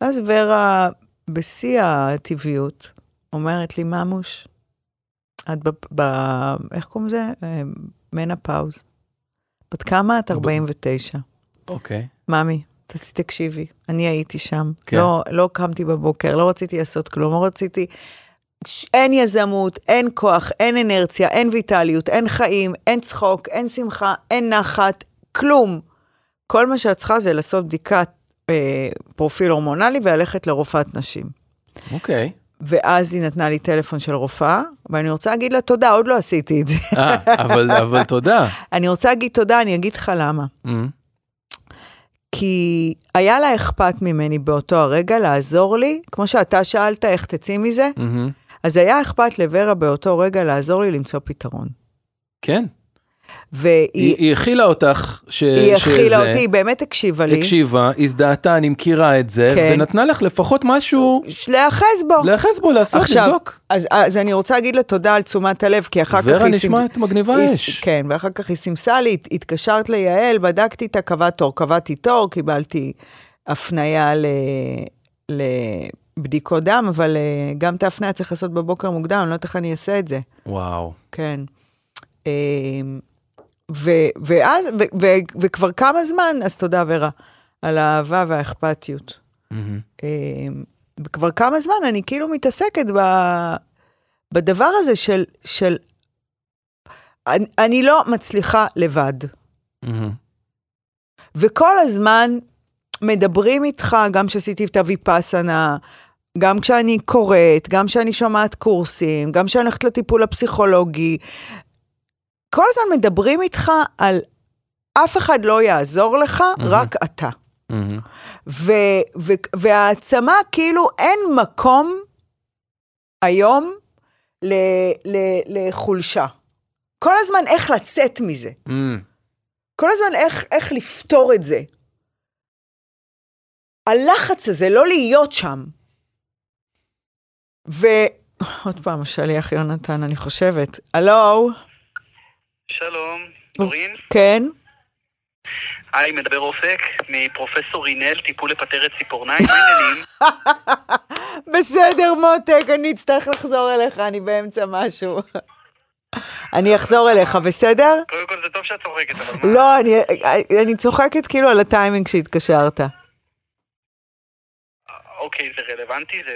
Speaker 2: ואז ורה, בשיא הטבעיות, אומרת לי, ממוש, את ב... ב איך קוראים לזה? אה, מנפאוז. בת כמה את? 49.
Speaker 1: אוקיי.
Speaker 2: ממי, תס- תקשיבי, אני הייתי שם.
Speaker 1: כן.
Speaker 2: כן. לא, לא קמתי בבוקר, לא רציתי לעשות כלום, לא רציתי... ש- אין יזמות, אין כוח, אין אנרציה, אין ויטליות, אין חיים, אין צחוק, אין שמחה, אין נחת, כלום. כל מה שאת צריכה זה לעשות בדיקת אה, פרופיל הורמונלי וללכת לרופאת נשים.
Speaker 1: אוקיי.
Speaker 2: ואז היא נתנה לי טלפון של רופאה, ואני רוצה להגיד לה תודה, עוד לא עשיתי את זה. [LAUGHS]
Speaker 1: אה, אבל אבל תודה.
Speaker 2: אני רוצה להגיד תודה, אני אגיד לך למה.
Speaker 1: מהמם.
Speaker 2: כי היה לה אכפת ממני באותו הרגע לעזור לי, כמו שאתה שאלת איך תצאי מזה,
Speaker 1: מהמם.
Speaker 2: אז היה אכפת לוורה באותו רגע לעזור לי למצוא פתרון.
Speaker 1: כן. היא
Speaker 2: והיא
Speaker 1: היא הכילה אותך. ש-
Speaker 2: היא
Speaker 1: שזה-
Speaker 2: הכילה אותי, היא באמת הקשיבה לי,
Speaker 1: הקשיבה, הזדהתה, אני מכירה את זה,
Speaker 2: כן.
Speaker 1: ונתנה לך לפחות משהו
Speaker 2: ש- להיאחז בו.
Speaker 1: להיאחז בו, לעשות,
Speaker 2: עכשיו,
Speaker 1: לבדוק.
Speaker 2: אז, אז אני רוצה להגיד לה תודה על תשומת הלב, כי אחר כך היא...
Speaker 1: ורה
Speaker 2: סימ-
Speaker 1: נשמעת מגניבה
Speaker 2: היא-
Speaker 1: אש.
Speaker 2: כן, ואחר כך היא סימסה לי, הת- התקשרת ליעל, בדקתי איתה, קבעת תור, קבעתי תור, קיבלתי הפניה ל... לבדיקות דם, אבל אה, גם את ההפניה צריך לעשות בבוקר מוקדם, אני לא יודעת איך אני אעשה את זה,
Speaker 1: וואו.
Speaker 2: כן. אמ, ו... ואז, ו... ו... וכבר כמה זמן, אז תודה ורה, על האהבה והאכפתיות.
Speaker 1: מהמם.
Speaker 2: אה, כבר כמה זמן אני כאילו מתעסקת ב, בדבר הזה של, של אני, אני לא מצליחה לבד.
Speaker 1: מהמם.
Speaker 2: וכל הזמן מדברים איתך, גם כשעשיתי את הוויפאסנה, גם כשאני קוראת, גם כשאני שומעת קורסים, גם כשאני הולכת לטיפול הפסיכולוגי, כל הזמן מדברים איתך על אף אחד לא יעזור לך, mm-hmm. רק אתה.
Speaker 1: מהמם.
Speaker 2: ו- ו- והעצמה, כאילו אין מקום היום ל- ל- לחולשה. כל הזמן איך לצאת מזה,
Speaker 1: מהמם.
Speaker 2: כל הזמן איך, איך לפתור את זה. הלחץ הזה, לא להיות שם. ועוד פעם, השליח יונתן, אני חושבת. הלו,
Speaker 6: שלום, דורין.
Speaker 2: כן?
Speaker 6: היי, מדבר אופק מפרופסור רינל, טיפול לפטרת ציפורניים. מה העניינים?
Speaker 2: בסדר, מותק, אני אצטרך לחזור אליך, אני באמצע משהו. [LAUGHS] אני אחזור אליך, בסדר?
Speaker 6: קודם כל זה טוב שאת צוחקת, אבל מה?
Speaker 2: לא, אני, אני צוחקת כאילו על הטיימינג שהתקשרת.
Speaker 6: אוקיי, זה רלוונטי, זה...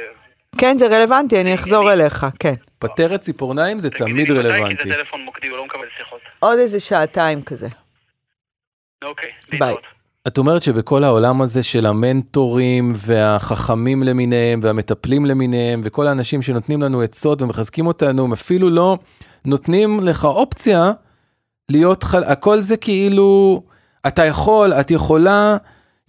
Speaker 2: כן, זה רלוונטי, אני אחזור אליך, כן.
Speaker 1: פטרת ציפורניים זה
Speaker 6: תגידי
Speaker 1: תמיד
Speaker 6: לי מתי,
Speaker 1: רלוונטי.
Speaker 6: כי זה טלפון מוקדי, הוא לא מקבל שיחות.
Speaker 2: עוד איזה שעתיים כזה.
Speaker 6: אוקיי,
Speaker 2: ביי.
Speaker 6: להתראות.
Speaker 1: את אומרת שבכל העולם הזה של המנטורים והחכמים למיניהם והמטפלים למיניהם וכל האנשים שנותנים לנו עצות ומחזקים אותנו, הם אפילו לא נותנים לך אופציה להיות, חל... הכל זה כאילו, אתה יכול, את יכולה,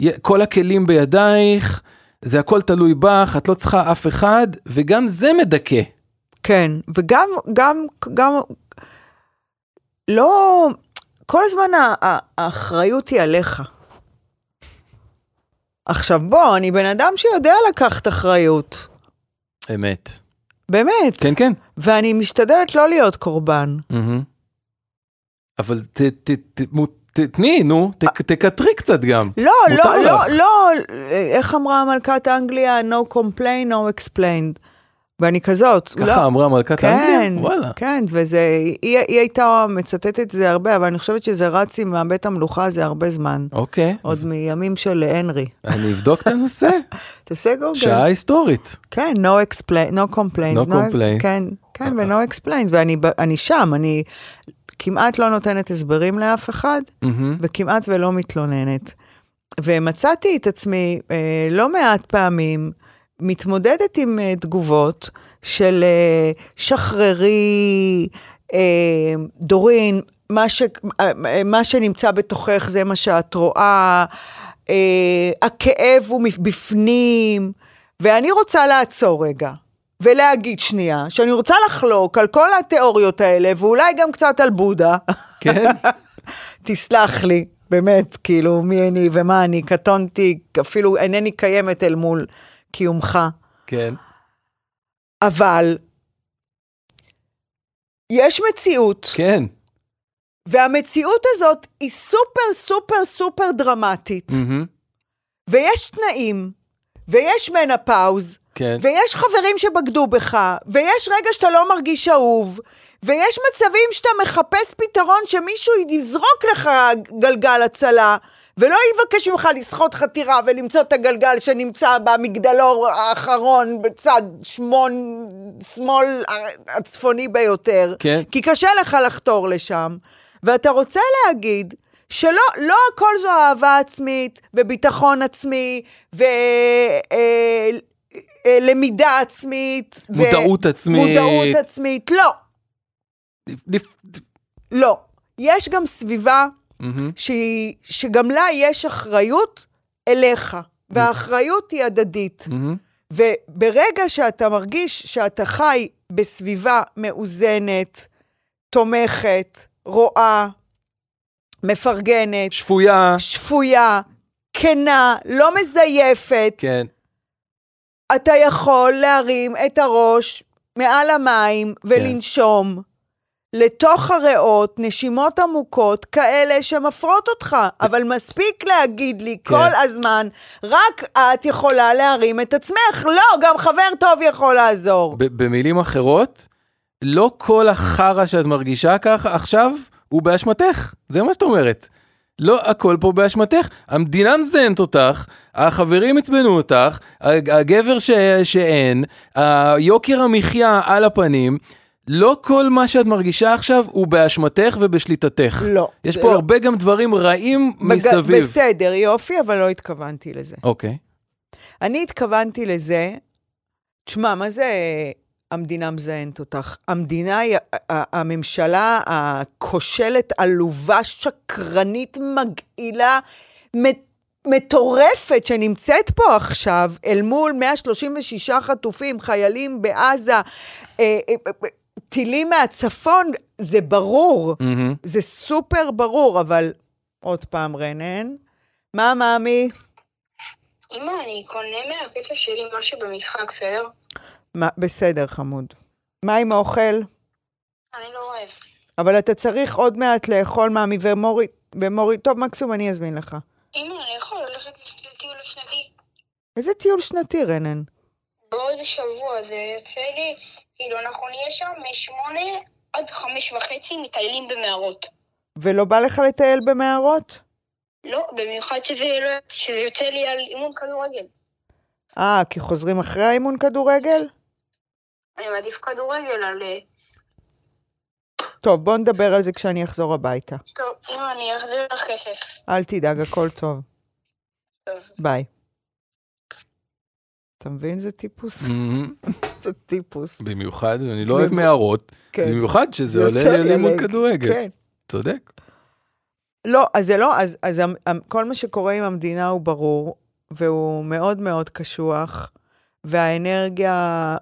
Speaker 1: י- כל הכלים בידייך, זה הכל תלוי בך, את לא צריכה אף אחד, וגם זה מדכא.
Speaker 2: כן, וגם, גם, גם, לא, כל הזמן ה- ה- האחריות היא עליך. עכשיו בוא, אני בן אדם שיודע לקחת אחריות,
Speaker 1: אמת.
Speaker 2: באמת.
Speaker 1: כן, כן.
Speaker 2: ואני משתדלת לא להיות קורבן.
Speaker 1: מהמם. אבל ת- ת- ת- מו- ת- תני, נו, ת- תקטרי קצת גם.
Speaker 2: לא,
Speaker 1: מותר
Speaker 2: לא, לא,
Speaker 1: לך.
Speaker 2: לא, איך אמרה מלכת אנגליה? No complain, no explained. ואני כזאת. לא.
Speaker 1: ככה אמרה מלכת
Speaker 2: כן,
Speaker 1: אנגליה? וואלה.
Speaker 2: כן, וזה, היא, היא הייתה מצטטת את זה הרבה, אבל אני חושבת שזה רץ עם הבית המלוכה הזה הרבה זמן.
Speaker 1: אוקיי,
Speaker 2: עוד מימים של הנרי.
Speaker 1: אני אבדוק את
Speaker 2: [LAUGHS]
Speaker 1: הנושא.
Speaker 2: אוקיי. תעשה גוגל.
Speaker 1: שעה היסטורית.
Speaker 2: כן, no explain, no complaints.
Speaker 1: No complain.
Speaker 2: כן, כן, ו-no explained, ואני ב- אני שם, אני כמעט לא נותנת הסברים לאף אחד,
Speaker 1: מהמם.
Speaker 2: וכמעט ולא מתלוננת. ומצאתי את עצמי אה, לא מעט פעמים מתמודדת עם אה, תגובות של אה, שחררי, אה, דורין, מה, ש, אה, אה, מה שנמצא בתוכך זה מה שאת רואה, אה, הכאב הוא מפ- בפנים, ואני רוצה לעצור רגע. ולהגיד שנייה, שאני רוצה לחלוק על כל התיאוריות האלה, ואולי גם קצת על בודה.
Speaker 1: כן?
Speaker 2: תסלח לי, באמת, כאילו, מי אני ומה אני, קטונתי, אפילו אינני קיימת אל מול קיומך.
Speaker 1: כן.
Speaker 2: אבל יש מציאות,
Speaker 1: כן.
Speaker 2: והמציאות הזאת היא סופר סופר סופר דרמטית,
Speaker 1: מהמם.
Speaker 2: ויש תנאים, ויש מנפאוז,
Speaker 1: כן.
Speaker 2: ויש חברים שבגדו בך, ויש רגע שאתה לא מרגיש אהוב, ויש מצבים שאתה מחפש פתרון שמישהו יזרוק לך גלגל הצלה, ולא יבקש ממך לסחוט חתירה ולמצוא את הגלגל שנמצא במגדלור האחרון בצד שמון, שמאל הצפוני ביותר.
Speaker 1: כן.
Speaker 2: כי קשה לך לחתור לשם, ואתה רוצה להגיד שלא לא הכל זו אהבה עצמית וביטחון עצמי אה, ולמידה עצמית. ו-
Speaker 1: מודעות עצמית.
Speaker 2: מודעות עצמית, לא,
Speaker 1: לפ-
Speaker 2: לא. יש גם סביבה
Speaker 1: מהמם.
Speaker 2: שהיא, שגם לה יש אחריות אליך, והאחריות היא הדדית.
Speaker 1: מהמם.
Speaker 2: וברגע שאתה מרגיש שאתה חי בסביבה מאוזנת, תומכת, רואה, מפרגנת,
Speaker 1: שפויה.
Speaker 2: שפויה, כנה, לא מזייפת,
Speaker 1: כן.
Speaker 2: אתה יכול להרים את הראש מעל המים ולנשום.
Speaker 1: כן.
Speaker 2: לתוך הריאות, נשימות עמוקות, כאלה שמפרות אותך. אבל מספיק להגיד לי
Speaker 1: כן.
Speaker 2: כל הזמן, רק את יכולה להרים את עצמך. לא, גם חבר טוב יכול לעזור.
Speaker 1: ב- במילים אחרות, לא כל החרא שאת מרגישה ככה עכשיו הוא באשמתך, זה מה שאת אומרת. לא הכל פה באשמתך, המדינה מזיינת אותך, החברים עצבנו אותך, הג- הגבר ש- שאין, יוקר המחיה על הפנים, לא כל מה שאת מרגישה עכשיו הוא באשמתך ובשליטתך.
Speaker 2: לא,
Speaker 1: יש
Speaker 2: זה
Speaker 1: פה
Speaker 2: לא.
Speaker 1: הרבה גם דברים רעים
Speaker 2: בג-
Speaker 1: מסביב.
Speaker 2: בסדר, יופי, אבל לא התכוונתי לזה.
Speaker 1: אוקיי,
Speaker 2: אני התכוונתי לזה, תשמע, מה זה אה, המדינה מזיינת אותך? המדינה, היא- ה- הממשלה הכושלת, עלובה, שקרנית, מגעילה, מ- מטורפת שנמצאת פה עכשיו, אל מול 136 חטופים, חיילים בעזה, אה, אה, אה, טילים מהצפון, זה ברור.
Speaker 1: מהמם.
Speaker 2: זה סופר ברור, אבל עוד פעם, רנן, מה, מאמי?
Speaker 5: אמא, אני קונה מהכסף שלי משהו במשחק, בסדר?
Speaker 2: מה, בסדר, חמוד. מה עם האוכל?
Speaker 5: אני לא אוהב.
Speaker 2: אבל אתה צריך עוד מעט לאכול מאמי ומורי, ומורי, טוב, מקסימום אני אזמין לך.
Speaker 5: אמא, אני יכול ללכת לטיול השנתי?
Speaker 2: איזה טיול שנתי, רנן.
Speaker 5: בעוד שבוע זה יוצא לי, כאילו, אנחנו נהיה שם משמונה עד חמש וחצי מטיילים במערות.
Speaker 2: ולא בא לך לטייל במערות?
Speaker 5: לא, במיוחד שזה, לא- שזה יוצא לי על אימון כדורגל.
Speaker 2: אה, כי חוזרים אחרי האימון כדורגל?
Speaker 5: אני מעדיף כדורגל על... אה,
Speaker 2: טוב, בוא נדבר על זה כשאני אחזור הביתה.
Speaker 5: טוב, אמא, אני אחזיר לך כסף.
Speaker 2: אל תדאג, הכל טוב.
Speaker 5: טוב.
Speaker 2: ביי. אתה מבין? זה טיפוס.
Speaker 1: מהמם.
Speaker 2: זה טיפוס.
Speaker 1: במיוחד, אני לא אוהב מערות,
Speaker 2: כן.
Speaker 1: במיוחד שזה
Speaker 2: יוצא
Speaker 1: עולה
Speaker 2: לי
Speaker 1: ללימוד
Speaker 2: עליי.
Speaker 1: כדורגל,
Speaker 2: כן.
Speaker 1: צודק.
Speaker 2: לא, אז זה לא, אז, אז המ- המ- כל מה שקורה עם המדינה הוא ברור, והוא מאוד מאוד קשוח, והאנרגיה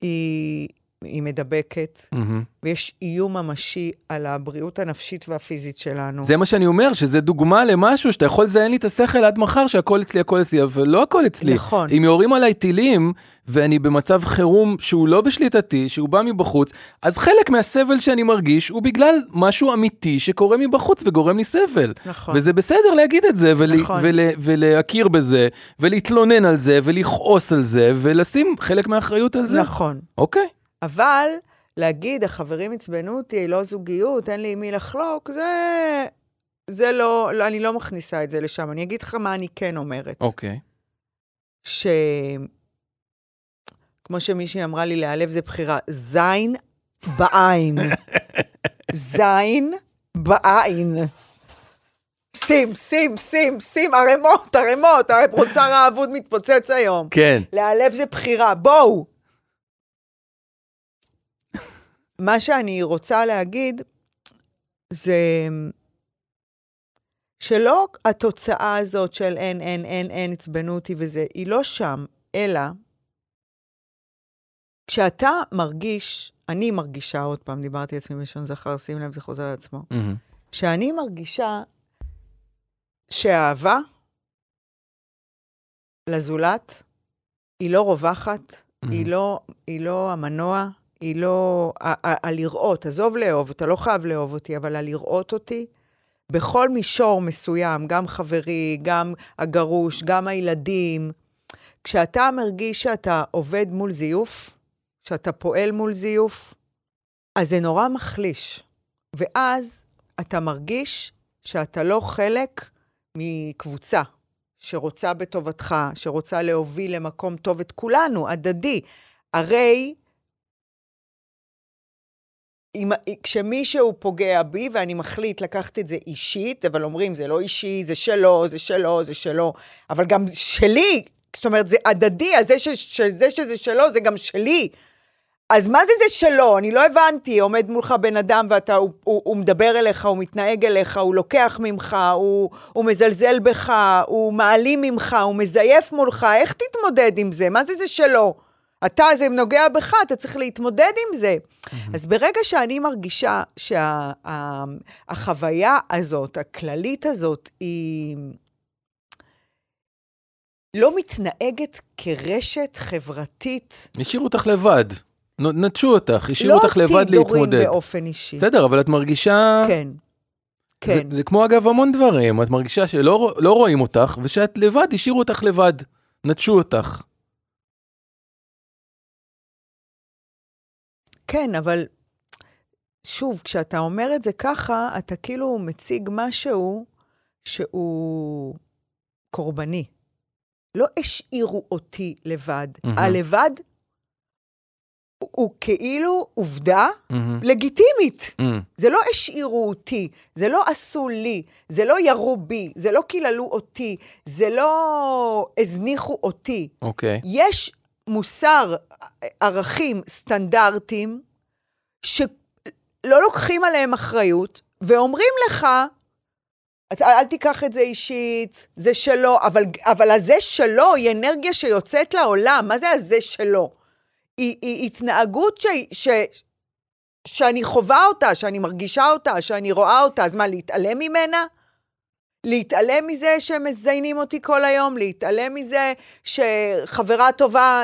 Speaker 2: היא, היא מדבקת,
Speaker 1: מהמם.
Speaker 2: ויש איום ממשי על הבריאות הנפשית והפיזית שלנו.
Speaker 1: זה מה שאני אומר, שזה דוגמה למשהו שאתה יכול לזיין לי את השכל עד מחר, שהכל אצלי, הכל אצלי, אבל לא הכל אצלי.
Speaker 2: נכון.
Speaker 1: אם יורים עליי טילים, ואני במצב חירום שהוא לא בשליטתי, שהוא בא מבחוץ, אז חלק מהסבל שאני מרגיש הוא בגלל משהו אמיתי שקורה מבחוץ וגורם לי סבל.
Speaker 2: נכון.
Speaker 1: וזה בסדר להגיד את זה, ול,
Speaker 2: נכון.
Speaker 1: ול, ולהכיר בזה, ולהתלונן על זה, ולכעוס על זה, ולשים חלק מהאחריות על זה.
Speaker 2: נכון.
Speaker 1: אוקיי.
Speaker 2: אבל להגיד, החברים עצבנו אותי, לא זוגיות, אין לי עם מי לחלוק, זה... זה לא, לא, אני לא מכניסה את זה לשם. אני אגיד לך מה אני כן אומרת.
Speaker 1: אוקיי.
Speaker 2: ש... כמו שמישהי אמרה לי, להיעלב זה בחירה. זין בעין. זין בעין. שים, שים, שים, שים, ערימות, ערימות, הרי פרוצר האבוד מתפוצץ היום.
Speaker 1: כן.
Speaker 2: להיעלב זה בחירה, בואו. מה שאני רוצה להגיד זה שלא התוצאה הזאת של אין, אין, אין, אין, עצבנו אותי וזה, היא לא שם, אלא כשאתה מרגיש, אני מרגישה, עוד פעם, דיברתי לעצמי בלשון זכר, שים לב, זה חוזר על עצמו.
Speaker 1: מהמם.
Speaker 2: שאני מרגישה שהאהבה לזולת היא לא רווחת, היא לא, היא לא המנוע, היא לא... ה- ה- הלראות, עזוב לאהוב, אתה לא חייב לאהוב אותי, אבל הלראות אותי, בכל מישור מסוים, גם חברי, גם הגרוש, גם הילדים, כשאתה מרגיש שאתה עובד מול זיוף, כשאתה פועל מול זיוף, אז זה נורא מחליש. ואז אתה מרגיש שאתה לא חלק מקבוצה שרוצה בטובתך, שרוצה להוביל למקום טוב את כולנו, הדדי. הרי אם, כשמישהו פוגע בי ואני מחליט לקחת את זה אישית, אבל אומרים זה לא אישי, זה שלו, זה שלו, זה שלו, אבל גם שלי, זאת אומרת זה הדדי, אז זה, ש, ש, זה שזה שלו זה גם שלי. אז מה זה זה שלו? אני לא הבנתי. עומד מולך בן אדם ואתה, הוא, הוא, הוא מדבר אליך, הוא מתנהג אליך, הוא לוקח ממך, הוא, הוא מזלזל בך, הוא מעלים ממך, הוא מזייף מולך, איך תתמודד עם זה? מה זה זה שלו? אתה, זה נוגע בך, אתה צריך להתמודד עם זה. אז ברגע שאני מרגישה שהחוויה הזאת, הכללית הזאת, היא לא מתנהגת כרשת חברתית,
Speaker 1: השאירו אותך לבד. נ- נטשו אותך, השאירו
Speaker 2: לא
Speaker 1: אותך לבד
Speaker 2: אותי דורים
Speaker 1: להתמודד.
Speaker 2: באופן אישי.
Speaker 1: בסדר, אבל את מרגישה...
Speaker 2: כן.
Speaker 1: זה,
Speaker 2: כן.
Speaker 1: זה כמו אגב המון דברים, את מרגישה שלא רוא- לא רואים אותך, ושאת לבד, השאירו אותך לבד. נטשו אותך.
Speaker 2: כן, אבל שוב, כשאתה אומר את זה ככה, אתה כאילו מציג משהו שהוא קורבני. לא השאירו אותי לבד.
Speaker 1: מהמם.
Speaker 2: הלבד הוא- הוא כאילו עובדה לגיטימית.
Speaker 1: Mm.
Speaker 2: זה לא השאירו אותי, זה לא עשו לי, זה לא ירו בי, זה לא קיללו אותי, זה לא הזניחו אותי.
Speaker 1: אוקיי.
Speaker 2: יש מוסר, ערכים, סטנדרטים, שלא לוקחים עליהם אחריות, ואומרים לך, "אתה- אל תיקח את זה אישית, זה שלו, אבל, אבל הזה שלו היא אנרגיה שיוצאת לעולם, מה זה הזה שלו? היא, היא התנהגות ש, ש, שאני חווה אותה, שאני מרגישה אותה, שאני רואה אותה, אז מה, להתעלם ממנה? להתעלם מזה שמזיינים אותי כל היום, להתעלם מזה שחברה טובה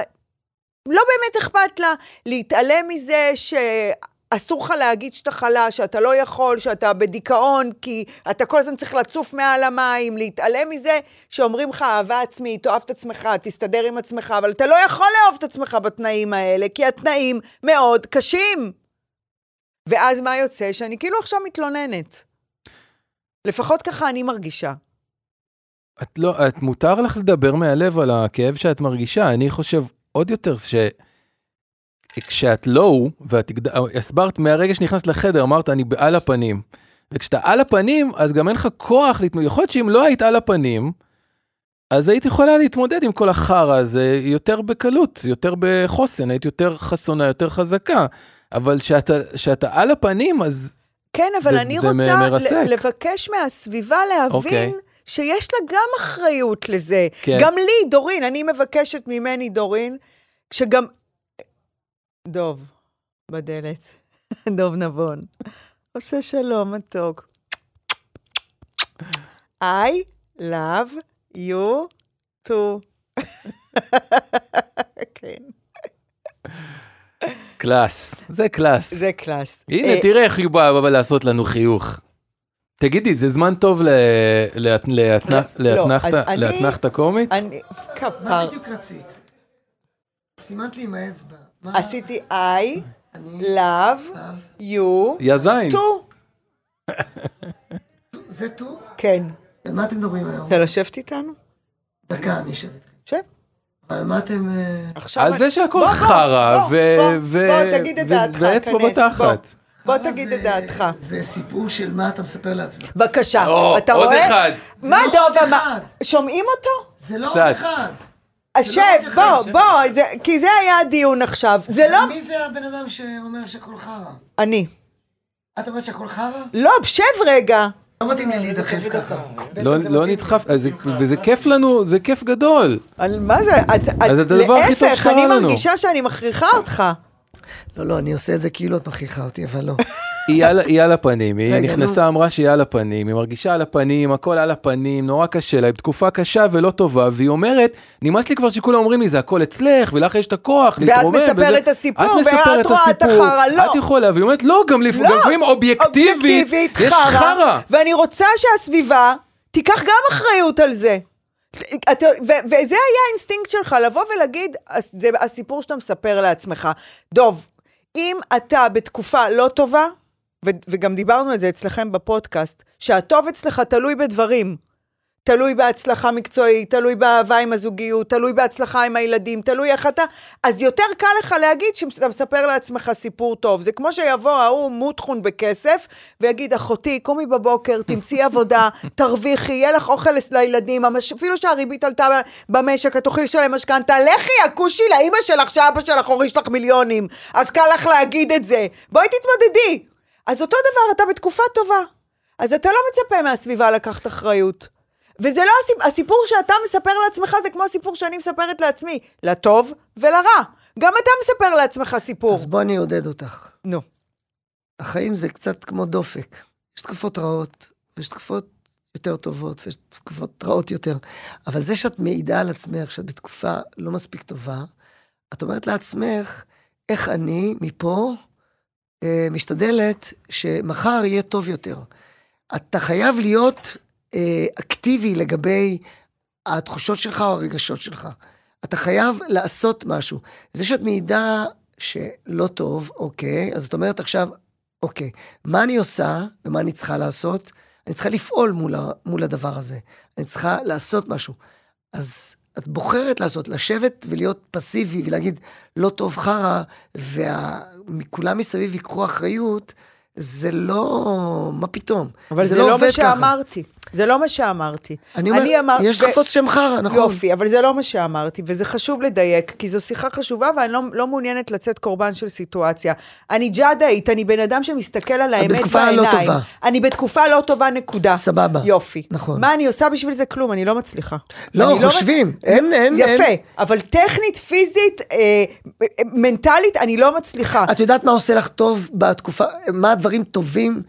Speaker 2: לא באמת אכפת לה, להתעלם מזה שאסור לך להגיד שאתה חלש, שאתה לא יכול, שאתה בדיכאון, כי אתה כל הזמן צריך לצוף מעל המים, להתעלם מזה שאומרים לך אהבה עצמית, תאהב את עצמך, תסתדר עם עצמך, אבל אתה לא יכול לאהוב את עצמך בתנאים האלה, כי התנאים מאוד קשים. ואז מה יוצא? שאני כאילו עכשיו מתלוננת. לפחות ככה אני מרגישה.
Speaker 1: את לא, את מותר לך לדבר מהלב על הכאב שאת מרגישה, אני חושב עוד יותר ש... כשאת לואו, ואת הגד- הסברת מהרגע שנכנסת לחדר, אמרת אני על הפנים. וכשאתה על הפנים, אז גם אין לך כוח להתמודד. יכול להיות שאם לא היית על הפנים, אז היית יכולה להתמודד עם כל החרא הזה יותר בקלות, יותר בחוסן, היית יותר חסונה, יותר חזקה. אבל כשאתה על הפנים, אז
Speaker 2: כן, אבל
Speaker 1: זה-
Speaker 2: אני
Speaker 1: זה מ-
Speaker 2: רוצה
Speaker 1: מרסק.
Speaker 2: ל- לבקש מהסביבה להבין
Speaker 1: אוקיי.
Speaker 2: okay. שיש לה גם אחריות לזה.
Speaker 1: כן.
Speaker 2: גם לי, דורין, אני מבקשת ממני, דורין, שגם... דוב, בדלת. [LAUGHS] דוב נבון. עושה שלום, מתוק. I love you too. [LAUGHS] כן,
Speaker 1: קלאס, זה קלאס.
Speaker 2: זה קלאס.
Speaker 1: הנה,
Speaker 2: אה,
Speaker 1: תראה איך היא באה באה לעשות לנו חיוך. תגידי, זה זמן טוב ל- לה- להתנ-
Speaker 2: לא,
Speaker 1: להתנחת-
Speaker 2: אז אני-
Speaker 1: להתנחת קומית?
Speaker 2: אני...
Speaker 7: מה
Speaker 2: כפר...
Speaker 7: בדיוק רצית? סימנת לי עם האצבע. מה?
Speaker 2: עשיתי I
Speaker 7: אני...
Speaker 2: love
Speaker 7: אב.
Speaker 2: you
Speaker 1: יא זין.
Speaker 2: too.
Speaker 7: זה טו?
Speaker 2: כן.
Speaker 7: על מה אתם מדברים היום?
Speaker 2: אתה לשבת איתנו?
Speaker 7: דקה, אני אשב איתכם.
Speaker 2: שב.
Speaker 7: על מה אתם... אה,
Speaker 2: עכשיו...
Speaker 1: על זה
Speaker 2: בוא,
Speaker 1: שהכל
Speaker 2: בוא,
Speaker 1: חרא,
Speaker 2: בוא,
Speaker 1: ו...
Speaker 2: בוא,
Speaker 1: ו-
Speaker 2: בוא, תגיד את
Speaker 1: ו-
Speaker 2: דעתך,
Speaker 1: ואצבע
Speaker 2: כנס,
Speaker 1: בתחת.
Speaker 2: בוא, בוא
Speaker 7: מה
Speaker 2: תגיד
Speaker 7: אה, זה-
Speaker 2: את דעתך.
Speaker 7: זה סיפור של מה אתה מספר לעצמך.
Speaker 2: בבקשה,
Speaker 1: או,
Speaker 2: אתה
Speaker 1: עוד
Speaker 2: רואה?
Speaker 1: אחד.
Speaker 2: מה
Speaker 7: זה לא
Speaker 2: דוב
Speaker 7: עוד
Speaker 2: אמר? שומעים אותו?
Speaker 7: זה לא
Speaker 1: קצת.
Speaker 7: עוד אחד.
Speaker 2: אז
Speaker 7: זה
Speaker 2: שב,
Speaker 7: לא עוד אחד,
Speaker 2: בוא,
Speaker 7: שב.
Speaker 2: בוא, זה- כי זה היה הדיון עכשיו. זה לא...
Speaker 7: מי זה הבן אדם שאומר שהכל חרא?
Speaker 2: אני.
Speaker 7: את אומרת שהכל חרא?
Speaker 2: לא, שב רגע.
Speaker 7: לא מתאים לי להידחף ככה. בעצם
Speaker 1: לא-
Speaker 7: זה
Speaker 1: לא
Speaker 7: מתאים לי.
Speaker 1: נדחף, אז זה- וזה כיף לנו, זה כיף גדול.
Speaker 2: על מה זה? את- את-
Speaker 1: אז זה הדבר הכי טוב
Speaker 2: להפך,
Speaker 1: שקרה
Speaker 2: אני
Speaker 1: לנו.
Speaker 2: מרגישה שאני מכריחה אותך.
Speaker 7: לא, לא, אני עושה את זה כאילו את מכריחה אותי, אבל לא.
Speaker 1: היא על- היא על הפנים, היא
Speaker 7: רגע,
Speaker 1: נכנסה, אמרה שהיא על הפנים, היא מרגישה על הפנים, הכל על הפנים, נורא קשה לה, היא בתקופה קשה ולא טובה, והיא אומרת, נמאס לי כבר שכולם אומרים לי, זה הכל אצלך, ולך יש את הכוח להתרומם.
Speaker 2: מספרת
Speaker 1: וזה-
Speaker 2: את הסיפור,
Speaker 1: את
Speaker 2: ואת
Speaker 1: מספרת את
Speaker 2: רואה את
Speaker 1: הסיפור,
Speaker 2: החרא, לא.
Speaker 1: את יכולה, והיא אומרת, לא, גם לפ- גם לפעמים אובייקטיבית, יש חרא.
Speaker 2: ואני רוצה שהסביבה תיקח גם אחריות על זה. אתה, ו- וזה היה האינסטינקט שלך, לבוא ולהגיד, "הס- זה הסיפור שאתה מספר לעצמך. דוב, אם אתה בתקופה לא טובה, ו- וגם דיברנו על זה אצלכם בפודקאסט, שהטוב אצלך תלוי בדברים. תלוי בהצלחה מקצועית, תלוי באהבה עם הזוגיות, תלוי בהצלחה עם הילדים, תלוי איך אתה... אז יותר קל לך להגיד שאתה מספר לעצמך סיפור טוב. זה כמו שיבוא ההוא מוטחון בכסף ויגיד, אחותי, קומי בבוקר, תמצאי עבודה, תרוויחי, יהיה לך אוכל לס- לילדים, המש... אפילו שהריבית עלתה ב- במשק, את תוכלי לשלם משכנתה, לכי, הכושי לאימא שלך, שאבא שלך הוריש לך מיליונים. אז קל לך להגיד את זה. בואי תתמודדי. אז אותו דבר, אתה בתקופה טובה. אז אתה לא מצפה מהסביבה לקחת אחריות. וזה לא הסיפ... הסיפור שאתה מספר לעצמך, זה כמו הסיפור שאני מספרת לעצמי, לטוב ולרע. גם אתה מספר לעצמך סיפור.
Speaker 7: אז בוא אני אעודד אותך.
Speaker 2: נו.
Speaker 7: החיים זה קצת כמו דופק. יש תקופות רעות, ויש תקופות יותר טובות, ויש תקופות רעות יותר. אבל זה שאת מעידה על עצמך, שאת בתקופה לא מספיק טובה, את אומרת לעצמך, איך אני מפה אה, משתדלת שמחר יהיה טוב יותר. אתה חייב להיות אה, אקטיבי לגבי התחושות שלך או הרגשות שלך. אתה חייב לעשות משהו. זה שאת מעידה שלא טוב, אוקיי, אז את אומרת עכשיו, אוקיי, מה אני עושה ומה אני צריכה לעשות? אני צריכה לפעול מול, ה- מול הדבר הזה. אני צריכה לעשות משהו. אז את בוחרת לעשות, לשבת ולהיות פסיבי ולהגיד, לא טוב חרא, וכולם מסביב ייקחו אחריות, זה לא... מה פתאום?
Speaker 2: אבל זה, לא מה שאמרתי. זה לא מה שאמתי.
Speaker 7: אני אומר,
Speaker 2: אמר-
Speaker 7: יש
Speaker 2: ו-
Speaker 7: תקופות שהן חרא, נכון?
Speaker 2: יופי, אבל זה לא מה שאמרתי, וזה חשוב לדייק, כי זו שיחה חשובה, ואני לא, לא מעוניינת לצאת קורבן של סיטואציה. אני ג'אדאית, אני בן אדם שמסתכל על האמת בעיניים.
Speaker 7: בתקופה לא טובה.
Speaker 2: אני בתקופה לא טובה, נקודה.
Speaker 7: סבבה.
Speaker 2: יופי.
Speaker 7: נכון.
Speaker 2: מה אני עושה בשביל זה? כלום, אני לא מצליחה.
Speaker 7: לא,
Speaker 2: אני
Speaker 7: חושבים. אין- אין-
Speaker 2: יפה,
Speaker 7: אין.
Speaker 2: אבל טכנית, פיזית, אה, אה, מנטלית, אני לא מצליחה.
Speaker 7: את יודעת מה עושה לך טוב בתקופה, מה הדברים טובים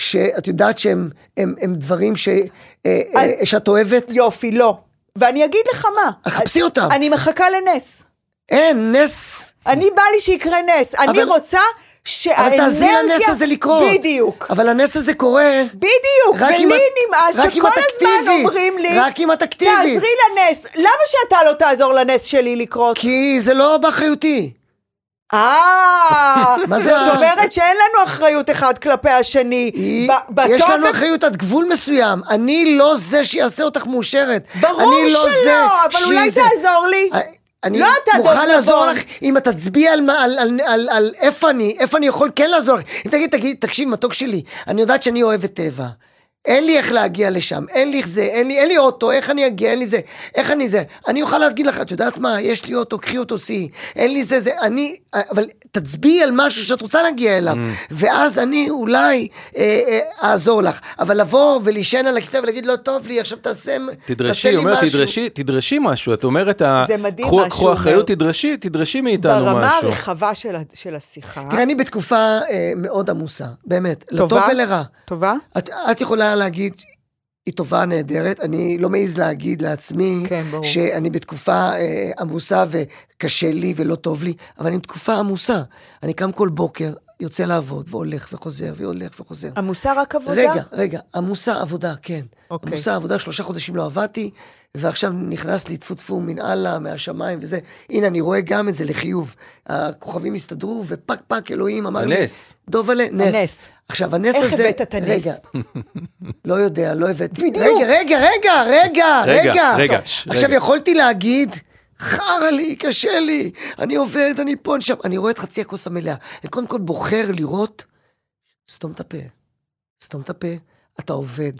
Speaker 7: שאת יודעת שהם הם, הם דברים ש, אה, אה, שאת אוהבת?
Speaker 2: יופי, לא. ואני אגיד לך מה.
Speaker 7: חפשי אותם.
Speaker 2: אני מחכה לנס.
Speaker 7: אין, נס.
Speaker 2: אני בא לי שיקרה נס, אני
Speaker 7: אבל-
Speaker 2: רוצה שהאנרגיה...
Speaker 7: אבל תעזי לנס הזה לקרות.
Speaker 2: בדיוק,
Speaker 7: אבל הנס הזה קורה.
Speaker 2: בדיוק,
Speaker 7: רק אם
Speaker 2: ולי
Speaker 7: את-
Speaker 2: נמאס
Speaker 7: רק אם
Speaker 2: שכל
Speaker 7: את
Speaker 2: הזמן
Speaker 7: אקטיבית.
Speaker 2: אומרים לי,
Speaker 7: רק אם את אקטיבית.
Speaker 2: תעזרי לנס, למה שאתה לא תעזור לנס שלי לקרות?
Speaker 7: כי זה לא באחריותי.
Speaker 2: אה,
Speaker 7: [LAUGHS] מה זה
Speaker 2: זאת
Speaker 7: ה-
Speaker 2: אומרת שאין לנו אחריות אחד כלפי השני.
Speaker 7: היא-
Speaker 2: ב-
Speaker 7: יש
Speaker 2: בטוב
Speaker 7: לנו
Speaker 2: ו-
Speaker 7: אחריות עד גבול מסוים. אני לא זה שיעשה אותך מאושרת.
Speaker 2: ברור
Speaker 7: אני לא
Speaker 2: שלא,
Speaker 7: זה
Speaker 2: אבל אולי
Speaker 7: שזה-
Speaker 2: תעזור לי.
Speaker 7: אני- אה, אני
Speaker 2: לא אתה, דב
Speaker 7: מוכן לעזור
Speaker 2: נבון.
Speaker 7: לך אם את תצביעי על, מה- על, על, על, על איפה אני, איפה אני יכול כן לעזור לך. אם תגיד, תגיד, תקשיב, מתוק שלי, אני יודעת שאני אוהבת טבע. אין לי איך להגיע לשם, אין לי איך זה, אין לי, אין לי אוטו, איך אני אגיע, אין לי זה, איך אני זה. אני אוכל להגיד לך, את יודעת מה, יש לי אוטו, קחי אותו, סי, אין לי זה, זה, אני, אבל תצביעי על משהו שאת רוצה להגיע אליו,
Speaker 1: Mm.
Speaker 7: ואז אני אולי אה, אה, אעזור לך. אבל לבוא ולהישען על הכיסא ולהגיד, לא טוב לי, עכשיו תעשה,
Speaker 1: תדרשי,
Speaker 7: תעשה
Speaker 1: היא
Speaker 7: לי
Speaker 1: אומרת,
Speaker 7: משהו.
Speaker 1: תדרשי, תדרשי משהו, את אומרת, ה-
Speaker 2: זה מדהים
Speaker 1: קחו-
Speaker 2: מה שהוא
Speaker 1: קחו אחריות,
Speaker 2: אומר.
Speaker 1: תדרשי, תדרשי מאיתנו
Speaker 2: ברמה
Speaker 1: משהו.
Speaker 2: הרחבה של ה- של השיחה.
Speaker 7: תראה, אני בתקופה אה, מאוד עמוסה, באמת, לטוב ולרע.
Speaker 2: טובה?
Speaker 7: את, את יכולה להגיד, היא תופעה נהדרת, אני לא מעז להגיד לעצמי,
Speaker 2: כן, ברור.
Speaker 7: שאני בתקופה אה, עמוסה וקשה לי ולא טוב לי, אבל אני בתקופה עמוסה. אני קם כל בוקר, יוצא לעבוד, והולך וחוזר, והולך וחוזר.
Speaker 2: עמוסה רק עבודה?
Speaker 7: רגע, רגע, עמוסה עבודה, כן.
Speaker 2: אוקיי.
Speaker 7: עמוסה עבודה, שלושה חודשים לא עבדתי, ועכשיו נכנס לי טפו טפו מן אללה, מהשמיים וזה. הנה, אני רואה גם את זה לחיוב. הכוכבים הסתדרו, ופק פק, אלוהים אמר לי...
Speaker 1: הנס.
Speaker 7: דוב עלי, נס.
Speaker 2: הנס.
Speaker 7: עכשיו, הנס
Speaker 2: איך
Speaker 7: הזה...
Speaker 2: הבאת את הנס?
Speaker 1: [LAUGHS]
Speaker 7: רגע, לא יודע, לא הבאתי.
Speaker 2: בדיוק.
Speaker 7: רגע, רגע, רגע, רגע,
Speaker 1: רגע,
Speaker 7: רגע.
Speaker 1: רגע,
Speaker 7: טוב.
Speaker 1: ש-
Speaker 7: עכשיו
Speaker 1: רגע.
Speaker 7: יכולתי להגיד, חרא לי, קשה לי, אני עובד, אני פה, אני שם. אני רואה את חצי הכוס המלאה. אני קודם כל בוחר לראות, סתום את הפה. סתום את הפה, אתה עובד.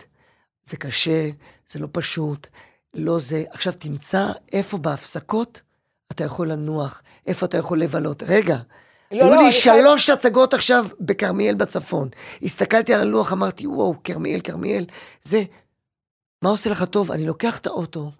Speaker 7: זה קשה, זה לא פשוט, לא זה. עכשיו תמצא איפה בהפסקות אתה יכול לנוח, איפה אתה יכול לבלות. רגע,
Speaker 2: לא,
Speaker 7: היו
Speaker 2: לא,
Speaker 7: לי
Speaker 2: אני חייב-
Speaker 7: שלוש הצגות עכשיו בכרמיאל בצפון. הסתכלתי על הלוח, אמרתי, וואו, כרמיאל, כרמיאל. זה, מה עושה לך טוב? אני לוקח את האוטו,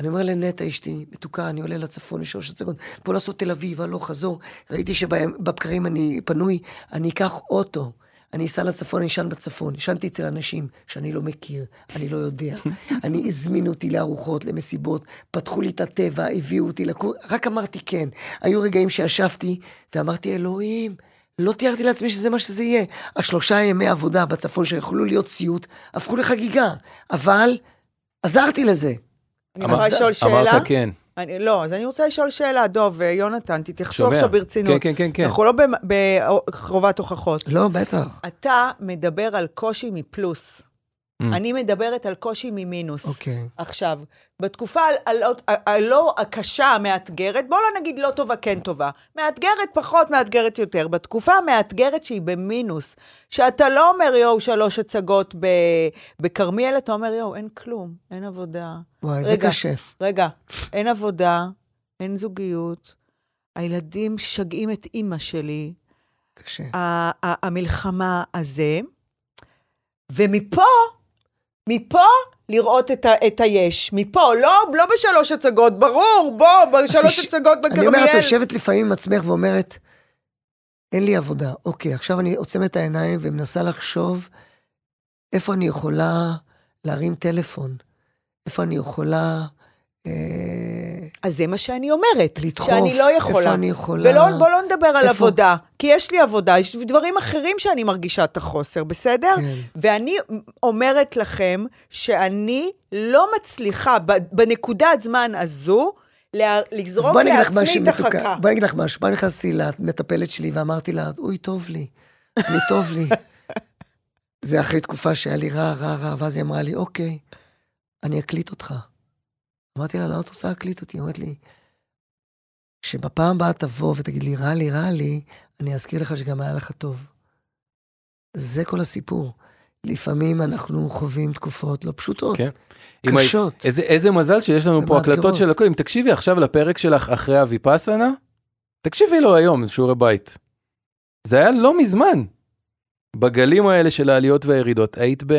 Speaker 7: אני אומר לנטע אשתי, מתוקה, אני עולה לצפון, יש שלוש הצגות, פה לעשות תל אביב, הלוך, חזור. ראיתי שבבקרים אני פנוי, אני אקח אוטו. אני אסע לצפון, אני אשן בצפון. ישנתי אצל אנשים שאני לא מכיר, אני לא יודע. אני, הזמינו אותי לארוחות, למסיבות, פתחו לי את הטבע, הביאו אותי לקור... רק אמרתי כן. היו רגעים שישבתי ואמרתי, אלוהים, לא תיארתי לעצמי שזה מה שזה יהיה. השלושה ימי עבודה בצפון שיכולו להיות סיוט, הפכו לחגיגה. אבל עזרתי לזה.
Speaker 2: אני רוצה
Speaker 1: אמרת-
Speaker 2: לשאול שאלה.
Speaker 1: אמרת כן.
Speaker 2: אני, לא, אז אני רוצה לשאול שאלה, דב ויונתן, תתייחסו
Speaker 1: שומע.
Speaker 2: עכשיו ברצינות.
Speaker 1: כן, כן, כן, כן.
Speaker 2: אנחנו לא במ- בחובת הוכחות.
Speaker 7: לא, בטח.
Speaker 2: אתה מדבר על קושי מפלוס.
Speaker 1: Mm.
Speaker 2: אני מדברת על קושי ממינוס.
Speaker 7: אוקיי.
Speaker 2: עכשיו, בתקופה הלא ה- הלא הקשה, המאתגרת, בואו לא נגיד לא טובה, כן טובה. מאתגרת פחות, מאתגרת יותר. בתקופה המאתגרת שהיא במינוס, שאתה לא אומר, יואו, שלוש הצגות ב- בכרמיאל, אתה אומר, יואו, אין כלום, אין עבודה.
Speaker 7: וואי, זה
Speaker 2: רגע,
Speaker 7: קשה.
Speaker 2: רגע, אין עבודה, אין זוגיות, הילדים משגעים את אימא שלי,
Speaker 7: קשה.
Speaker 2: ה- ה- המלחמה הזה, ומפה, מפה לראות את, ה- את היש. מפה, לא, לא בשלוש הצגות, ברור, בוא, בשלוש
Speaker 7: אז תש-
Speaker 2: הצגות
Speaker 7: אני אומר, את
Speaker 2: בכרמיאל.
Speaker 7: יושבת לפעמים עם עצמך ואומרת, אין לי עבודה. אוקיי, עכשיו אני עוצמת את העיניים ומנסה לחשוב איפה אני יכולה להרים טלפון. איפה אני יכולה... אה,
Speaker 2: אז זה מה שאני אומרת,
Speaker 7: לדחוף,
Speaker 2: שאני לא יכולה.
Speaker 7: איפה אני יכולה?
Speaker 2: ולא, בוא לא נדבר על
Speaker 7: איפה?
Speaker 2: עבודה, כי יש לי עבודה, יש דברים אחרים שאני מרגישה את החוסר, בסדר?
Speaker 7: כן.
Speaker 2: ואני אומרת לכם שאני לא מצליחה ב- בנקודת זמן הזו לה-
Speaker 7: אז
Speaker 2: לזרוק
Speaker 7: בוא אני אגיד לך
Speaker 2: לעצמי
Speaker 7: משהו,
Speaker 2: את
Speaker 7: מתוקה.
Speaker 2: החכה.
Speaker 7: בוא אני אגיד לך משהו. בוא נכנסתי למטפלת שלי ואמרתי לה, אוי, טוב לי, אני טוב לי. זה אחרי תקופה שהיה לי רע, רע, רע, ואז היא אמרה לי, אוקיי, אני אקליט אותך. אמרתי לה, למה את רוצה להקליט אותי? היא אומרת לי, כשבפעם הבאה תבוא ותגיד לי, רע לי, רע לי, אני אזכיר לך שגם היה לך טוב. זה כל הסיפור. לפעמים אנחנו חווים תקופות לא פשוטות.
Speaker 1: כן.
Speaker 7: כן.
Speaker 1: אם היית-
Speaker 7: קשות.
Speaker 1: איזה- איזה מזל שיש לנו פה
Speaker 7: ומאתגרות.
Speaker 1: הקלטות של הכל. אם תקשיבי עכשיו לפרק שלך אחרי הוויפאסנה, תקשיבי לו היום, זה שיעורי בית. זה היה לא מזמן. בגלים האלה של העליות והירידות, היית ב...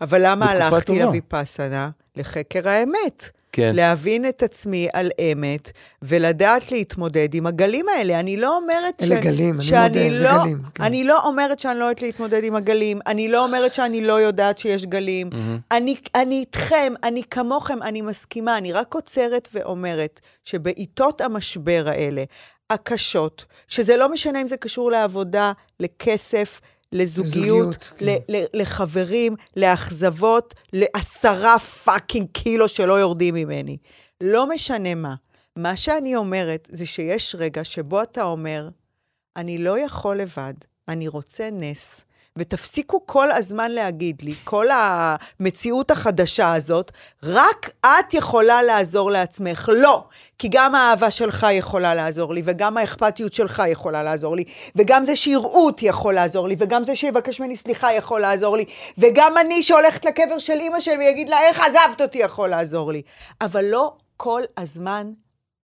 Speaker 2: אבל למה
Speaker 1: בתקופה
Speaker 2: הלכתי
Speaker 1: טובה.
Speaker 2: לוויפאסנה? לחקר האמת.
Speaker 1: כן.
Speaker 2: להבין את עצמי על אמת, ולדעת להתמודד עם הגלים האלה. אני לא אומרת
Speaker 7: אלה גלים, אני
Speaker 2: שאני
Speaker 7: מודה, זה
Speaker 2: לא,
Speaker 7: גלים, כן.
Speaker 2: אני לא אומרת שאני לא יודעת להתמודד עם הגלים, אני לא אומרת שאני לא יודעת שיש גלים. אני, אני איתכם, אני כמוכם, אני מסכימה, אני רק עוצרת ואומרת שבעיתות המשבר האלה, הקשות, שזה לא משנה אם זה קשור לעבודה, לכסף, לזוגיות,
Speaker 7: לזוגיות,
Speaker 2: ל- ל- לחברים, לאכזבות, לעשרה פאקינג קילו שלא יורדים ממני. לא משנה מה. מה שאני אומרת זה שיש רגע שבו אתה אומר, אני לא יכול לבד, אני רוצה נס, ותפסיקו כל הזמן להגיד לי, כל המציאות החדשה הזאת, רק את יכולה לעזור לעצמך. לא, כי גם האהבה שלך יכולה לעזור לי, וגם האכפתיות שלך יכולה לעזור לי, וגם זה שיראו אותי יכול לעזור לי, וגם זה שיבקש ממני סליחה יכול לעזור לי, וגם אני שהולכת לקבר של אימא שלי ויגיד לה, איך עזבת אותי, יכול לעזור לי. אבל לא כל הזמן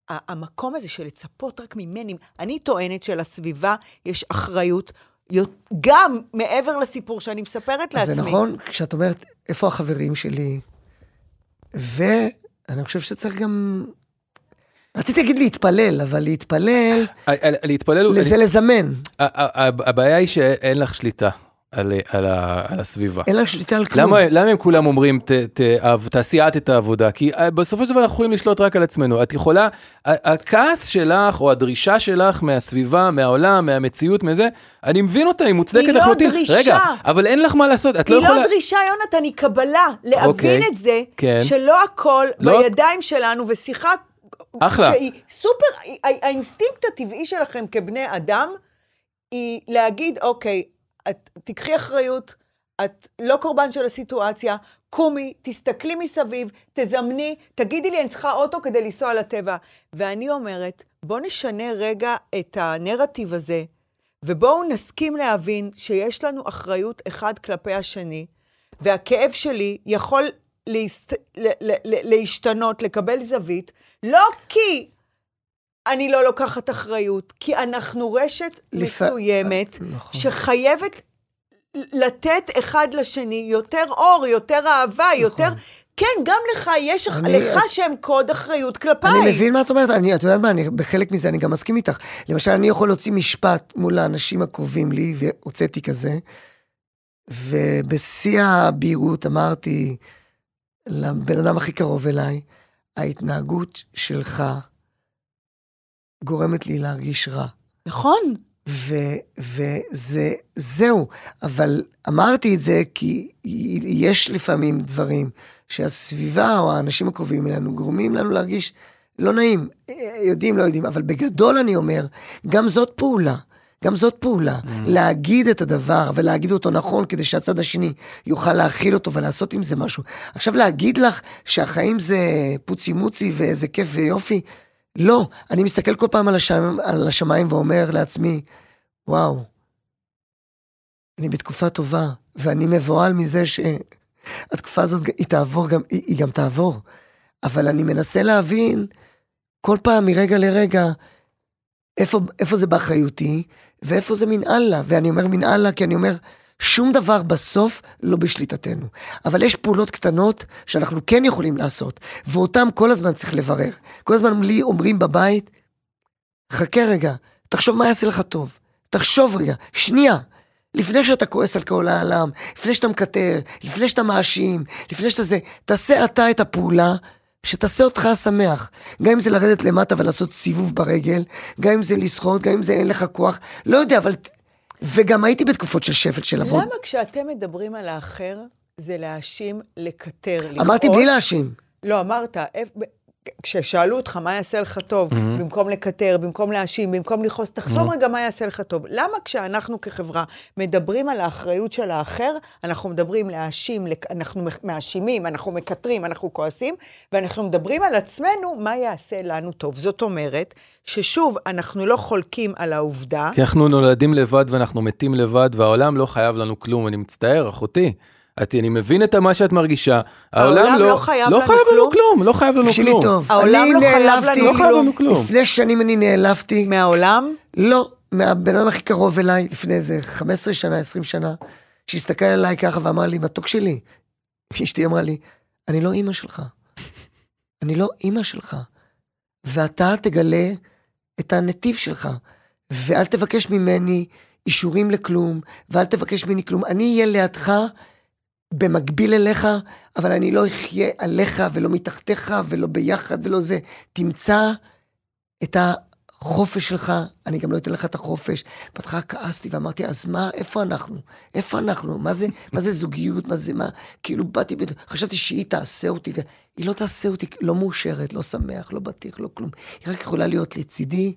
Speaker 2: ה- המקום הזה של לצפות רק ממני, אני טוענת שלסביבה יש אחריות, יו- גם מעבר לסיפור שאני מספרת לעצמי.
Speaker 7: זה נכון, כשאת אומרת, איפה החברים שלי? ואני חושב שצריך גם... רציתי להגיד להתפלל, אבל להתפלל,
Speaker 1: אה, אה, להתפלל, אני-
Speaker 7: זה לזמן.
Speaker 1: ה- ה- ה- הבעיה היא שאין לך שליטה על על ה- על הסביבה.
Speaker 7: אין לך שליטה על כלום.
Speaker 1: למה, למה הם כולם אומרים, ת, ת, אב- תעשי את את העבודה? כי אה, בסופו של דבר אנחנו יכולים לשלוט רק על עצמנו. את יכולה, ה- הכעס שלך או הדרישה שלך מהסביבה, מהעולם, מהמציאות, מזה, אני מבין אותה, היא מוצדקת
Speaker 2: היא לא
Speaker 1: לחלוטין.
Speaker 2: דרישה.
Speaker 1: רגע, אבל אין לך מה לעשות, את לא
Speaker 2: היא
Speaker 1: יכולה...
Speaker 2: לא דרישה, יונתן, היא קבלה. להבין
Speaker 1: אוקיי,
Speaker 2: את זה,
Speaker 1: כן.
Speaker 2: שלא הכל
Speaker 1: לא-
Speaker 2: בידיים שלנו, ושיחה
Speaker 1: אחלה.
Speaker 2: שהיא סופר, הא- האינסטינקט הטבעי שלכם כבני אדם, היא להגיד, אוקיי, את תיקחי אחריות, את לא קורבן של הסיטואציה, קומי, תסתכלי מסביב, תזמני, תגידי לי, אני צריכה אוטו כדי לנסוע לטבע. ואני אומרת, בוא נשנה רגע את הנרטיב הזה, ובואו נסכים להבין שיש לנו אחריות אחד כלפי השני, והכאב שלי יכול להסת... ל- ל- ל- להשתנות, לקבל זווית, לא כי אני לא לוקחת אחריות, כי אנחנו רשת
Speaker 7: לפ-
Speaker 2: מסוימת,
Speaker 7: נכון.
Speaker 2: שחייבת לתת אחד לשני יותר אור, יותר אהבה,
Speaker 7: נכון.
Speaker 2: יותר... כן, גם לך יש, אח-
Speaker 7: אני-
Speaker 2: לך שם קוד אחריות כלפיי.
Speaker 7: אני מבין מה את אומרת, אני, את יודעת מה, אני, בחלק מזה אני גם מסכים איתך. למשל, אני יכול להוציא משפט מול האנשים הקרובים לי, והוצאתי כזה, ובשיא הבהירות אמרתי לבן אדם הכי קרוב אליי, ההתנהגות שלך גורמת לי להרגיש רע.
Speaker 2: נכון.
Speaker 7: ו, וזה, זהו. אבל אמרתי את זה כי יש לפעמים דברים שהסביבה או האנשים הקרובים אלינו גורמים לנו להרגיש לא נעים. אה, יודעים, לא יודעים, אבל בגדול אני אומר, גם זאת פעולה. גם זאת פעולה, mm. להגיד את הדבר ולהגיד אותו נכון כדי שהצד השני יוכל להכיל אותו ולעשות עם זה משהו. עכשיו להגיד לך שהחיים זה פוצי מוצי ואיזה כיף ויופי, לא, אני מסתכל כל פעם על, השמיים, על השמיים ואומר לעצמי, וואו, אני בתקופה טובה, ואני מבוהל מזה שהתקופה הזאת, היא תעבור גם, היא, היא גם תעבור. אבל אני מנסה להבין כל פעם מרגע לרגע איפה, איפה זה באחריותי, ואיפה זה מן אללה. ואני אומר מן אללה כי אני אומר, שום דבר בסוף לא בשליטתנו. אבל יש פעולות קטנות שאנחנו כן יכולים לעשות, ואותן כל הזמן צריך לברר. כל הזמן לי אומרים בבית, חכה רגע, תחשוב מה יעשה לך טוב. תחשוב רגע, שנייה. לפני שאתה כועס על כל העולם, לפני שאתה מקטר, לפני שאתה מאשים, לפני שאתה זה, תעשה אתה את הפעולה שתעשה אותך שמח. גם אם זה לרדת למטה ולעשות סיבוב ברגל, גם אם זה לשחות, גם אם זה אין לך כוח, לא יודע, אבל... וגם הייתי בתקופות של שפל של עבוד.
Speaker 2: למה כשאתם מדברים על האחר, זה להאשים, לקטר, לכעוס?
Speaker 7: אמרתי בלי להאשים.
Speaker 2: לא, אמרת, איפ- ב- כששאלו אותך מה יעשה לך טוב, mm-hmm. במקום לקטר, במקום להאשים, במקום לכעוס, תחשוב mm-hmm. רגע מה יעשה לך טוב. למה כשאנחנו כחברה מדברים על האחריות של האחר, אנחנו מדברים להאשים, לק- אנחנו מח- מאשימים, אנחנו מקטרים, אנחנו כועסים, ואנחנו מדברים על עצמנו מה יעשה לנו טוב. זאת אומרת, ששוב, אנחנו לא חולקים על העובדה.
Speaker 7: כן.
Speaker 1: כי אנחנו נולדים לבד ואנחנו מתים לבד, והעולם לא חייב לנו כלום, אני מצטער, אחותי. את, אני מבין את מה שאת מרגישה.
Speaker 2: העולם לא חייב
Speaker 1: לא
Speaker 2: לנו
Speaker 1: חייב לנו
Speaker 2: כלום.
Speaker 1: כלום, לא חייב לנו
Speaker 7: תקשיבי
Speaker 1: כלום.
Speaker 7: טוב,
Speaker 2: העולם
Speaker 7: אני
Speaker 2: לא חייב
Speaker 7: נעלבתי-
Speaker 2: לנו
Speaker 1: לא חייב לנו כלום.
Speaker 7: לפני שנים אני נעלבתי.
Speaker 2: מהעולם?
Speaker 7: לא, מהבן אדם הכי קרוב אליי, לפני איזה 15 שנה, 20 שנה, שהסתכל עליי ככה ואמר לי, מתוק שלי. אשתי אמרה לי, אני לא אימא שלך. אני לא אימא שלך. ואתה תגלה את הנתיב שלך. ואל תבקש ממני אישורים לכלום, ואל תבקש ממני כלום. אני אהיה לידך במקביל אליך, אבל אני לא אחיה עליך ולא מתחתיך ולא ביחד ולא זה. תמצא את החופש שלך, אני גם לא אתן לך את החופש. בהתחלה כעסתי ואמרתי, אז מה, איפה אנחנו? איפה אנחנו? מה זה, מה זה זוגיות? מה זה, מה? כאילו באתי, בת- חשבתי שהיא תעשה אותי, והיא לא תעשה אותי, לא מאושרת, לא שמח, לא בטיח, לא כלום. היא רק יכולה להיות לצידי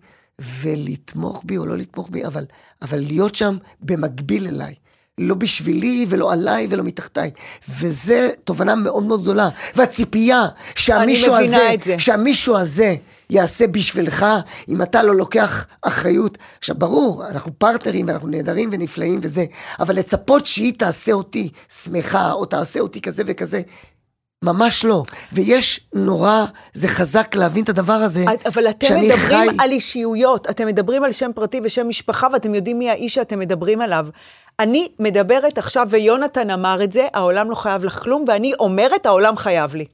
Speaker 7: ולתמוך בי או לא לתמוך בי, אבל, אבל להיות שם במקביל אליי. לא בשבילי ולא עליי ולא מתחתיי. וזה תובנה מאוד מאוד גדולה. והציפייה שהמישהו
Speaker 2: מבינה
Speaker 7: הזה,
Speaker 2: את זה.
Speaker 7: שהמישהו הזה יעשה בשבילך, אם אתה לא לוקח אחריות. עכשיו, ברור, אנחנו פרטנרים ואנחנו נהדרים ונפלאים וזה, אבל לצפות שהיא תעשה אותי שמחה, או תעשה אותי כזה וכזה, ממש לא. ויש נורא, זה חזק להבין את הדבר הזה,
Speaker 2: את- אבל אתם
Speaker 7: שאני
Speaker 2: מדברים
Speaker 7: חי...
Speaker 2: על אישיויות, אתם מדברים על שם פרטי ושם משפחה, ואתם יודעים מי האיש שאתם מדברים עליו. אני מדברת עכשיו, ויונתן אמר את זה, העולם לא חייב לך כלום, ואני אומרת, העולם חייב לי.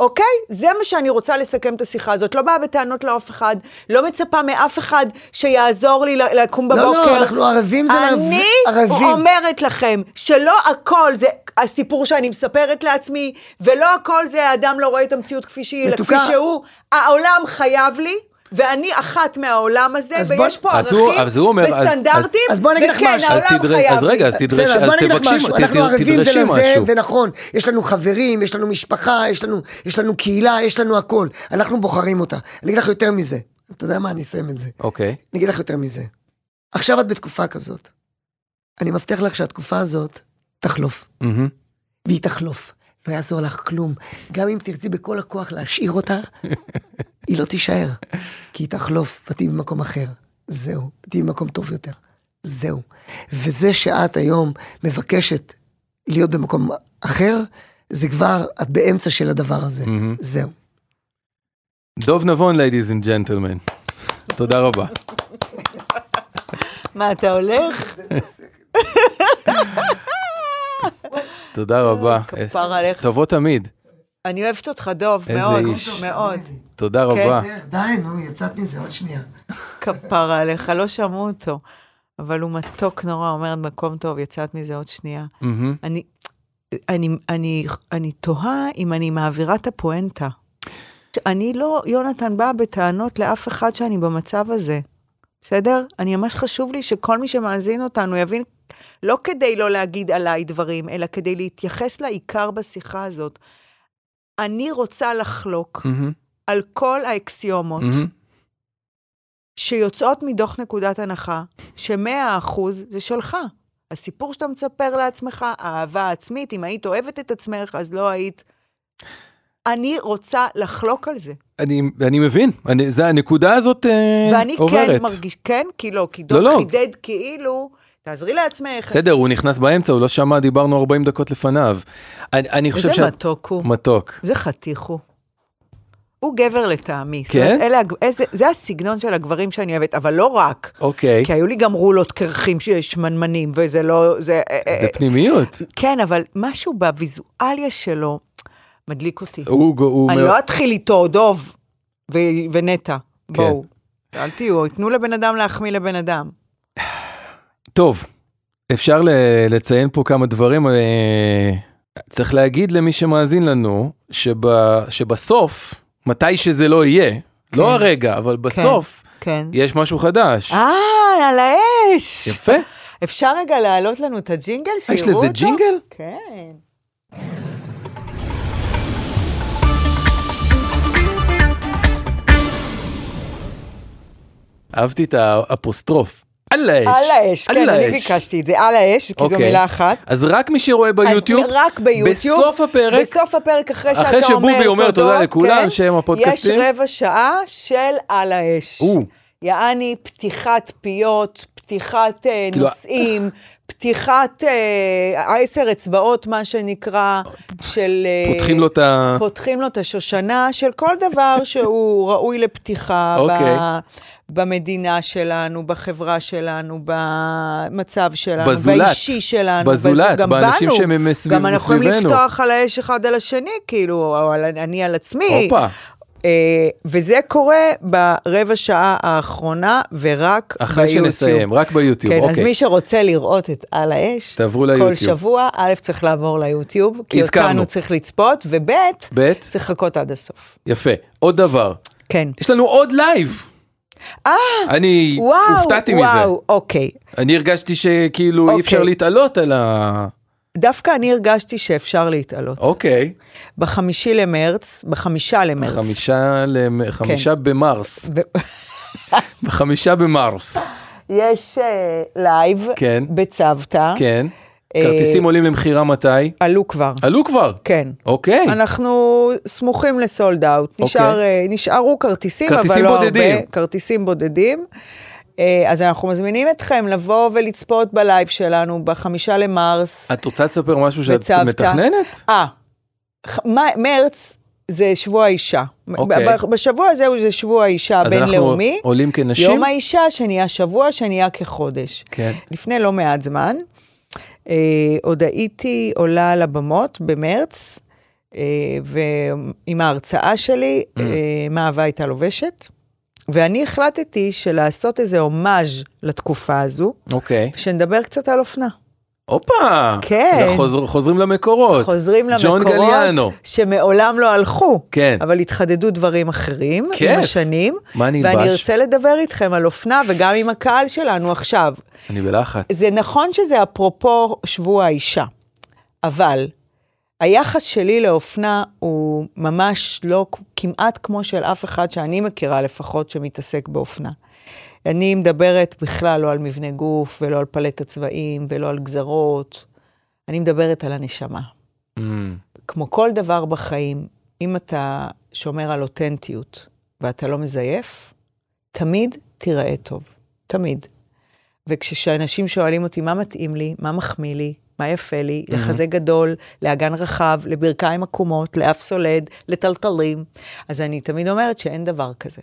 Speaker 2: אוקיי? זה מה שאני רוצה לסכם את השיחה הזאת. לא באה בטענות לאף אחד, לא מצפה מאף אחד שיעזור לי ל- לקום
Speaker 7: לא,
Speaker 2: בבוקר.
Speaker 7: לא, אנחנו ערבים זה
Speaker 2: אני
Speaker 7: לערב- ערבים.
Speaker 2: אומרת לכם שלא הכל זה הסיפור שאני מספרת לעצמי, ולא הכל זה האדם לא רואה את המציאות כפי שהיא, אלא כפי
Speaker 7: מתוקה.
Speaker 2: שהוא. העולם חייב לי. ואני אחת מהעולם הזה,
Speaker 7: אז בוא-
Speaker 2: ויש פה
Speaker 1: אז הוא-
Speaker 2: ערכים
Speaker 1: אז הוא אומר, אז-
Speaker 2: וסטנדרטים,
Speaker 7: אז- אז בוא אני אגיד לך
Speaker 2: וכן,
Speaker 7: משהו.
Speaker 1: אז
Speaker 2: העולם
Speaker 1: תדרש-
Speaker 2: חייב
Speaker 1: אז רגע,
Speaker 2: לי.
Speaker 1: אז תדרש,
Speaker 7: בסדר,
Speaker 1: אז
Speaker 7: בוא אני אגיד לך
Speaker 1: תבקשי,
Speaker 7: משהו, אנחנו
Speaker 1: ת- ת-
Speaker 7: ערבים זה
Speaker 1: תדרשי
Speaker 7: לזה,
Speaker 1: משהו.
Speaker 7: ונכון, יש לנו חברים, יש לנו משפחה, יש לנו, יש לנו קהילה, יש לנו הכל. אנחנו בוחרים אותה. אני אגיד לך יותר מזה, אתה יודע מה, אני אסיים את זה.
Speaker 1: אוקיי.
Speaker 7: אני אגיד לך יותר מזה. עכשיו את בתקופה כזאת. אני מבטיח לך שהתקופה הזאת תחלוף,
Speaker 1: מהמם.
Speaker 7: והיא תחלוף. לא יעזור לך כלום. גם אם תרצי בכל הכוח להשאיר אותה, היא לא תישאר. כי היא תחלוף, ותהיי במקום אחר. זהו, תהיי במקום טוב יותר. זהו. וזה שאת היום מבקשת להיות במקום אחר, זה כבר, את באמצע של הדבר הזה.
Speaker 1: מהמם.
Speaker 7: זהו.
Speaker 1: דוב נבון, ladies and gentlemen. תודה רבה.
Speaker 2: מה, אתה הולך?
Speaker 1: תודה רבה.
Speaker 2: אה,
Speaker 1: אה,
Speaker 2: כפר עליך.
Speaker 1: תבוא תמיד.
Speaker 2: אני אוהבת אותך, דוב,
Speaker 1: איזה
Speaker 2: מאוד,
Speaker 1: איש.
Speaker 2: מאוד.
Speaker 1: תודה
Speaker 2: כן.
Speaker 1: רבה.
Speaker 7: די, נו, יצאת מזה, עוד שנייה.
Speaker 2: כפרה עליך, לא שמעו אותו. אבל הוא מתוק נורא, אומר, מקום טוב, יצאת מזה עוד שנייה.
Speaker 1: מהמם.
Speaker 2: אני, אני, אני, אני תוהה אם אני מעבירה את הפואנטה. אני לא, יונתן, באה בטענות לאף אחד שאני במצב הזה, בסדר? אני ממש חשוב לי שכל מי שמאזין אותנו יבין, לא כדי לא להגיד עליי דברים, אלא כדי להתייחס לעיקר בשיחה הזאת. אני רוצה לחלוק
Speaker 1: מהמם.
Speaker 2: על כל האקסיומות.
Speaker 1: מהמם.
Speaker 2: שיוצאות מתוך נקודת הנחה ש-100% זה שלך. הסיפור שאתה מספר לעצמך, האהבה העצמית, אם היית אוהבת את עצמך, אז לא היית. אני רוצה לחלוק על זה.
Speaker 1: אני, אני מבין, אני, זה הנקודה הזאת אה,
Speaker 2: ואני
Speaker 1: עוברת.
Speaker 2: כן מרגיש, כן, כי לא, כי דוב
Speaker 1: לא, לא.
Speaker 2: חידד כאילו, תעזרי לעצמך.
Speaker 1: בסדר, הוא נכנס באמצע, הוא לא שמע, דיברנו 40 דקות לפניו. אני, אני חושב
Speaker 2: איזה מתוק הוא.
Speaker 1: מתוק.
Speaker 2: זה חתיך הוא. הוא גבר לטעמי. זאת
Speaker 1: כן?
Speaker 2: אומרת, אלה, הג- איזה, זה הסגנון של הגברים שאני אוהבת, אבל לא רק.
Speaker 1: אוקיי,
Speaker 2: כי היו לי גם רולות קרחים ש- שמנמנים, וזה לא... זה,
Speaker 1: זה פנימיות.
Speaker 2: כן, אבל משהו בוויזואליה שלו מדליק אותי.
Speaker 1: הוא, הוא
Speaker 2: אני
Speaker 1: אומר, כן.
Speaker 2: לא אתחיל איתו, דוב ו- ונטע, בואו. אל תהיו, תנו לבן אדם להחמיא לבן אדם.
Speaker 1: טוב, אפשר ל, לציין פה כמה דברים. אה, צריך להגיד למי שמאזין לנו, שב, שבסוף, מתי שזה לא יהיה, לא הרגע, אבל בסוף,
Speaker 2: כן.
Speaker 1: יש משהו חדש.
Speaker 2: אה, על האש!
Speaker 1: יפה.
Speaker 2: אפשר רגע להעלות לנו את הג'ינגל, שיראו
Speaker 1: אה, יש
Speaker 2: אותו?
Speaker 1: לזה ג'ינגל?
Speaker 2: כן.
Speaker 1: אהבתי את האפוסטרוף. על האש.
Speaker 2: על האש, כן,
Speaker 1: על
Speaker 2: אני
Speaker 1: האש.
Speaker 2: ביקשתי את זה, על האש, כי זו
Speaker 1: אוקיי.
Speaker 2: מילה אחת.
Speaker 1: אז רק מי שרואה ביוטיוב,
Speaker 2: אז רק ביוטיוב.
Speaker 1: בסוף הפרק,
Speaker 2: בסוף הפרק, אחרי שאתה אומר
Speaker 1: אחרי שבובי אומר תודה לכולם,
Speaker 2: כן,
Speaker 1: שהם הפודקאסטים.
Speaker 2: יש רבע שעה של על האש.
Speaker 1: או.
Speaker 2: יעני, פתיחת פיות, פתיחת אה,
Speaker 1: כאילו-
Speaker 2: נושאים, פתיחת אה, עשר אצבעות, מה שנקרא, של... אה,
Speaker 1: פותחים לו את ה...
Speaker 2: פותחים לו את השושנה של כל דבר שהוא [LAUGHS] ראוי לפתיחה
Speaker 1: אוקיי.
Speaker 2: ב- במדינה שלנו, בחברה שלנו, במצב שלנו,
Speaker 1: בזולת.
Speaker 2: באישי שלנו.
Speaker 1: בזולת,
Speaker 2: בזו- גם
Speaker 1: באנשים
Speaker 2: בנו.
Speaker 1: שהם מסביב-
Speaker 2: גם אנחנו יכולים
Speaker 1: מסביבנו.
Speaker 2: לפתוח על האש אחד על השני, כאילו, או על, אני על עצמי.
Speaker 1: הופה.
Speaker 2: אה, וזה קורה ברבע שעה האחרונה, ורק
Speaker 1: אחרי
Speaker 2: ביוטיוב.
Speaker 1: שנסיים, רק ביוטיוב,
Speaker 2: כן, אז
Speaker 1: אוקיי.
Speaker 2: מי שרוצה לראות את על האש,
Speaker 1: תעברו
Speaker 2: כל
Speaker 1: ליוטיוב.
Speaker 2: שבוע, א', צריך לעבור ליוטיוב, כי
Speaker 1: הזכרנו.
Speaker 2: אותנו צריך לצפות, וב',
Speaker 1: ב',
Speaker 2: צריך לחכות עד הסוף.
Speaker 1: יפה. עוד דבר,
Speaker 2: כן.
Speaker 1: יש לנו עוד לייב. אה, אני
Speaker 2: וואו,
Speaker 1: הופתעתי
Speaker 2: וואו,
Speaker 1: מזה.
Speaker 2: אוקיי.
Speaker 1: אני הרגשתי שכאילו אי
Speaker 2: אוקיי.
Speaker 1: אפשר להתעלות על ה...
Speaker 2: דווקא אני הרגשתי שאפשר להתעלות.
Speaker 1: אוקיי,
Speaker 2: בחמישי למרץ, בחמישה למרץ. כן.
Speaker 1: חמישה למ- חמישה במרס,
Speaker 2: ו-
Speaker 1: חמישה במרס.
Speaker 2: יש אה, לייב
Speaker 1: כן.
Speaker 2: בצוותא.
Speaker 1: כן.
Speaker 2: אה,
Speaker 1: כרטיסים עולים למכירה מתי?
Speaker 2: עלו כבר.
Speaker 1: עלו כבר.
Speaker 2: כן.
Speaker 1: אוקיי.
Speaker 2: אנחנו סמוכים לסולד אאוט. נשאר,
Speaker 1: אוקיי.
Speaker 2: אה, נשארו כרטיסים,
Speaker 1: כרטיסים
Speaker 2: אבל לא
Speaker 1: בודדים.
Speaker 2: הרבה. כרטיסים בודדים. אה, אז אנחנו מזמינים אתכם לבוא ולצפות בלייב שלנו בחמישה למרס.
Speaker 1: את רוצה לספר משהו שאת
Speaker 2: בצוותא.
Speaker 1: מתכננת?
Speaker 2: אה, ח- מ- מרץ זה שבוע האישה.
Speaker 1: אוקיי.
Speaker 2: ב- ב- בשבוע הזה הוא- זה שבוע האישה
Speaker 1: אז אנחנו
Speaker 2: הבינלאומי.
Speaker 1: עולים כנשים?
Speaker 2: יום האישה שנהיה שבוע, שנהיה כחודש.
Speaker 1: כן.
Speaker 2: לפני לא מעט זמן, אה, עוד הייתי עולה על הבמות במרץ, אה, ועם ההרצאה שלי,
Speaker 1: Mm.
Speaker 2: אה, מה אהבה הייתה לובשת. ואני החלטתי שלעשות איזה הומאז' לתקופה הזו,
Speaker 1: אוקיי.
Speaker 2: ושנדבר קצת על אופנה.
Speaker 1: הופה.
Speaker 2: כן.
Speaker 1: חוזר- חוזרים למקורות.
Speaker 2: חוזרים למקורות,
Speaker 1: ג'ון גליאנו.
Speaker 2: שמעולם לא הלכו,
Speaker 1: כן.
Speaker 2: אבל התחדדו דברים אחרים
Speaker 1: כיף.
Speaker 2: עם השנים.
Speaker 1: מה נלבש?
Speaker 2: ואני ארצה לדבר איתכם על אופנה וגם עם הקהל שלנו עכשיו.
Speaker 1: אני בלחץ.
Speaker 2: זה נכון שזה אפרופו שבוע האישה, אבל היחס שלי לאופנה הוא ממש לא כמעט כמו של אף אחד שאני מכירה לפחות שמתעסק באופנה. אני מדברת בכלל לא על מבנה גוף ולא על פלט הצבעים ולא על גזרות, אני מדברת על הנשמה.
Speaker 1: אמ,
Speaker 2: כמו כל דבר בחיים, אם אתה שומר על אותנטיות ואתה לא מזייף, תמיד תיראה טוב. תמיד. וכשאנשים שואלים אותי מה מתאים לי, מה מחמיא לי, מה יפה לי, לחזה גדול, לאגן רחב, לברכיים עקומות, לאף סולד, לטלטלים, אז אני תמיד אומרת שאין דבר כזה.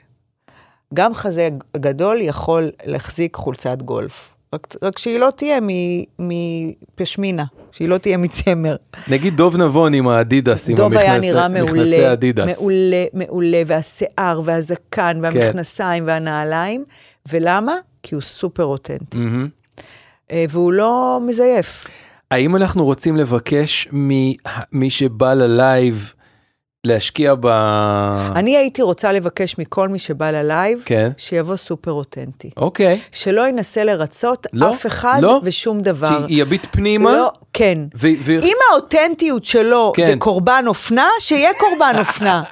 Speaker 2: גם חזה גדול יכול להחזיק חולצת גולף. רק, רק שהיא לא תהיה מ- מפשמינה, שהיא לא תהיה מצמר.
Speaker 1: נגיד דוב נבון עם האדידס, עם
Speaker 2: דוב היה
Speaker 1: המכנסי-
Speaker 2: נראה
Speaker 1: מכנסי
Speaker 2: מעולה,
Speaker 1: האדידס.
Speaker 2: מעולה, מעולה, והשיער
Speaker 1: כן.
Speaker 2: והזקן והמכנסיים והנעליים, ולמה? כי הוא סופר אותנטי,
Speaker 1: מהמם.
Speaker 2: אה, והוא לא מזייף.
Speaker 1: אה. האם אנחנו רוצים לבקש ממי שבא ללייב להשקיע ב...
Speaker 2: אני הייתי רוצה לבקש מכל מי שבא ללייב,
Speaker 1: כן.
Speaker 2: שיבוא סופר אותנטי.
Speaker 1: אוקיי.
Speaker 2: שלא ינסה לרצות
Speaker 1: לא,
Speaker 2: אף אחד
Speaker 1: לא.
Speaker 2: ושום דבר.
Speaker 1: שיביט פנימה.
Speaker 2: לא, כן.
Speaker 1: ו- ו-
Speaker 2: אם האותנטיות שלו
Speaker 1: כן.
Speaker 2: כן. זה קורבן אופנה, שיהיה קורבן
Speaker 1: [LAUGHS]
Speaker 2: אופנה.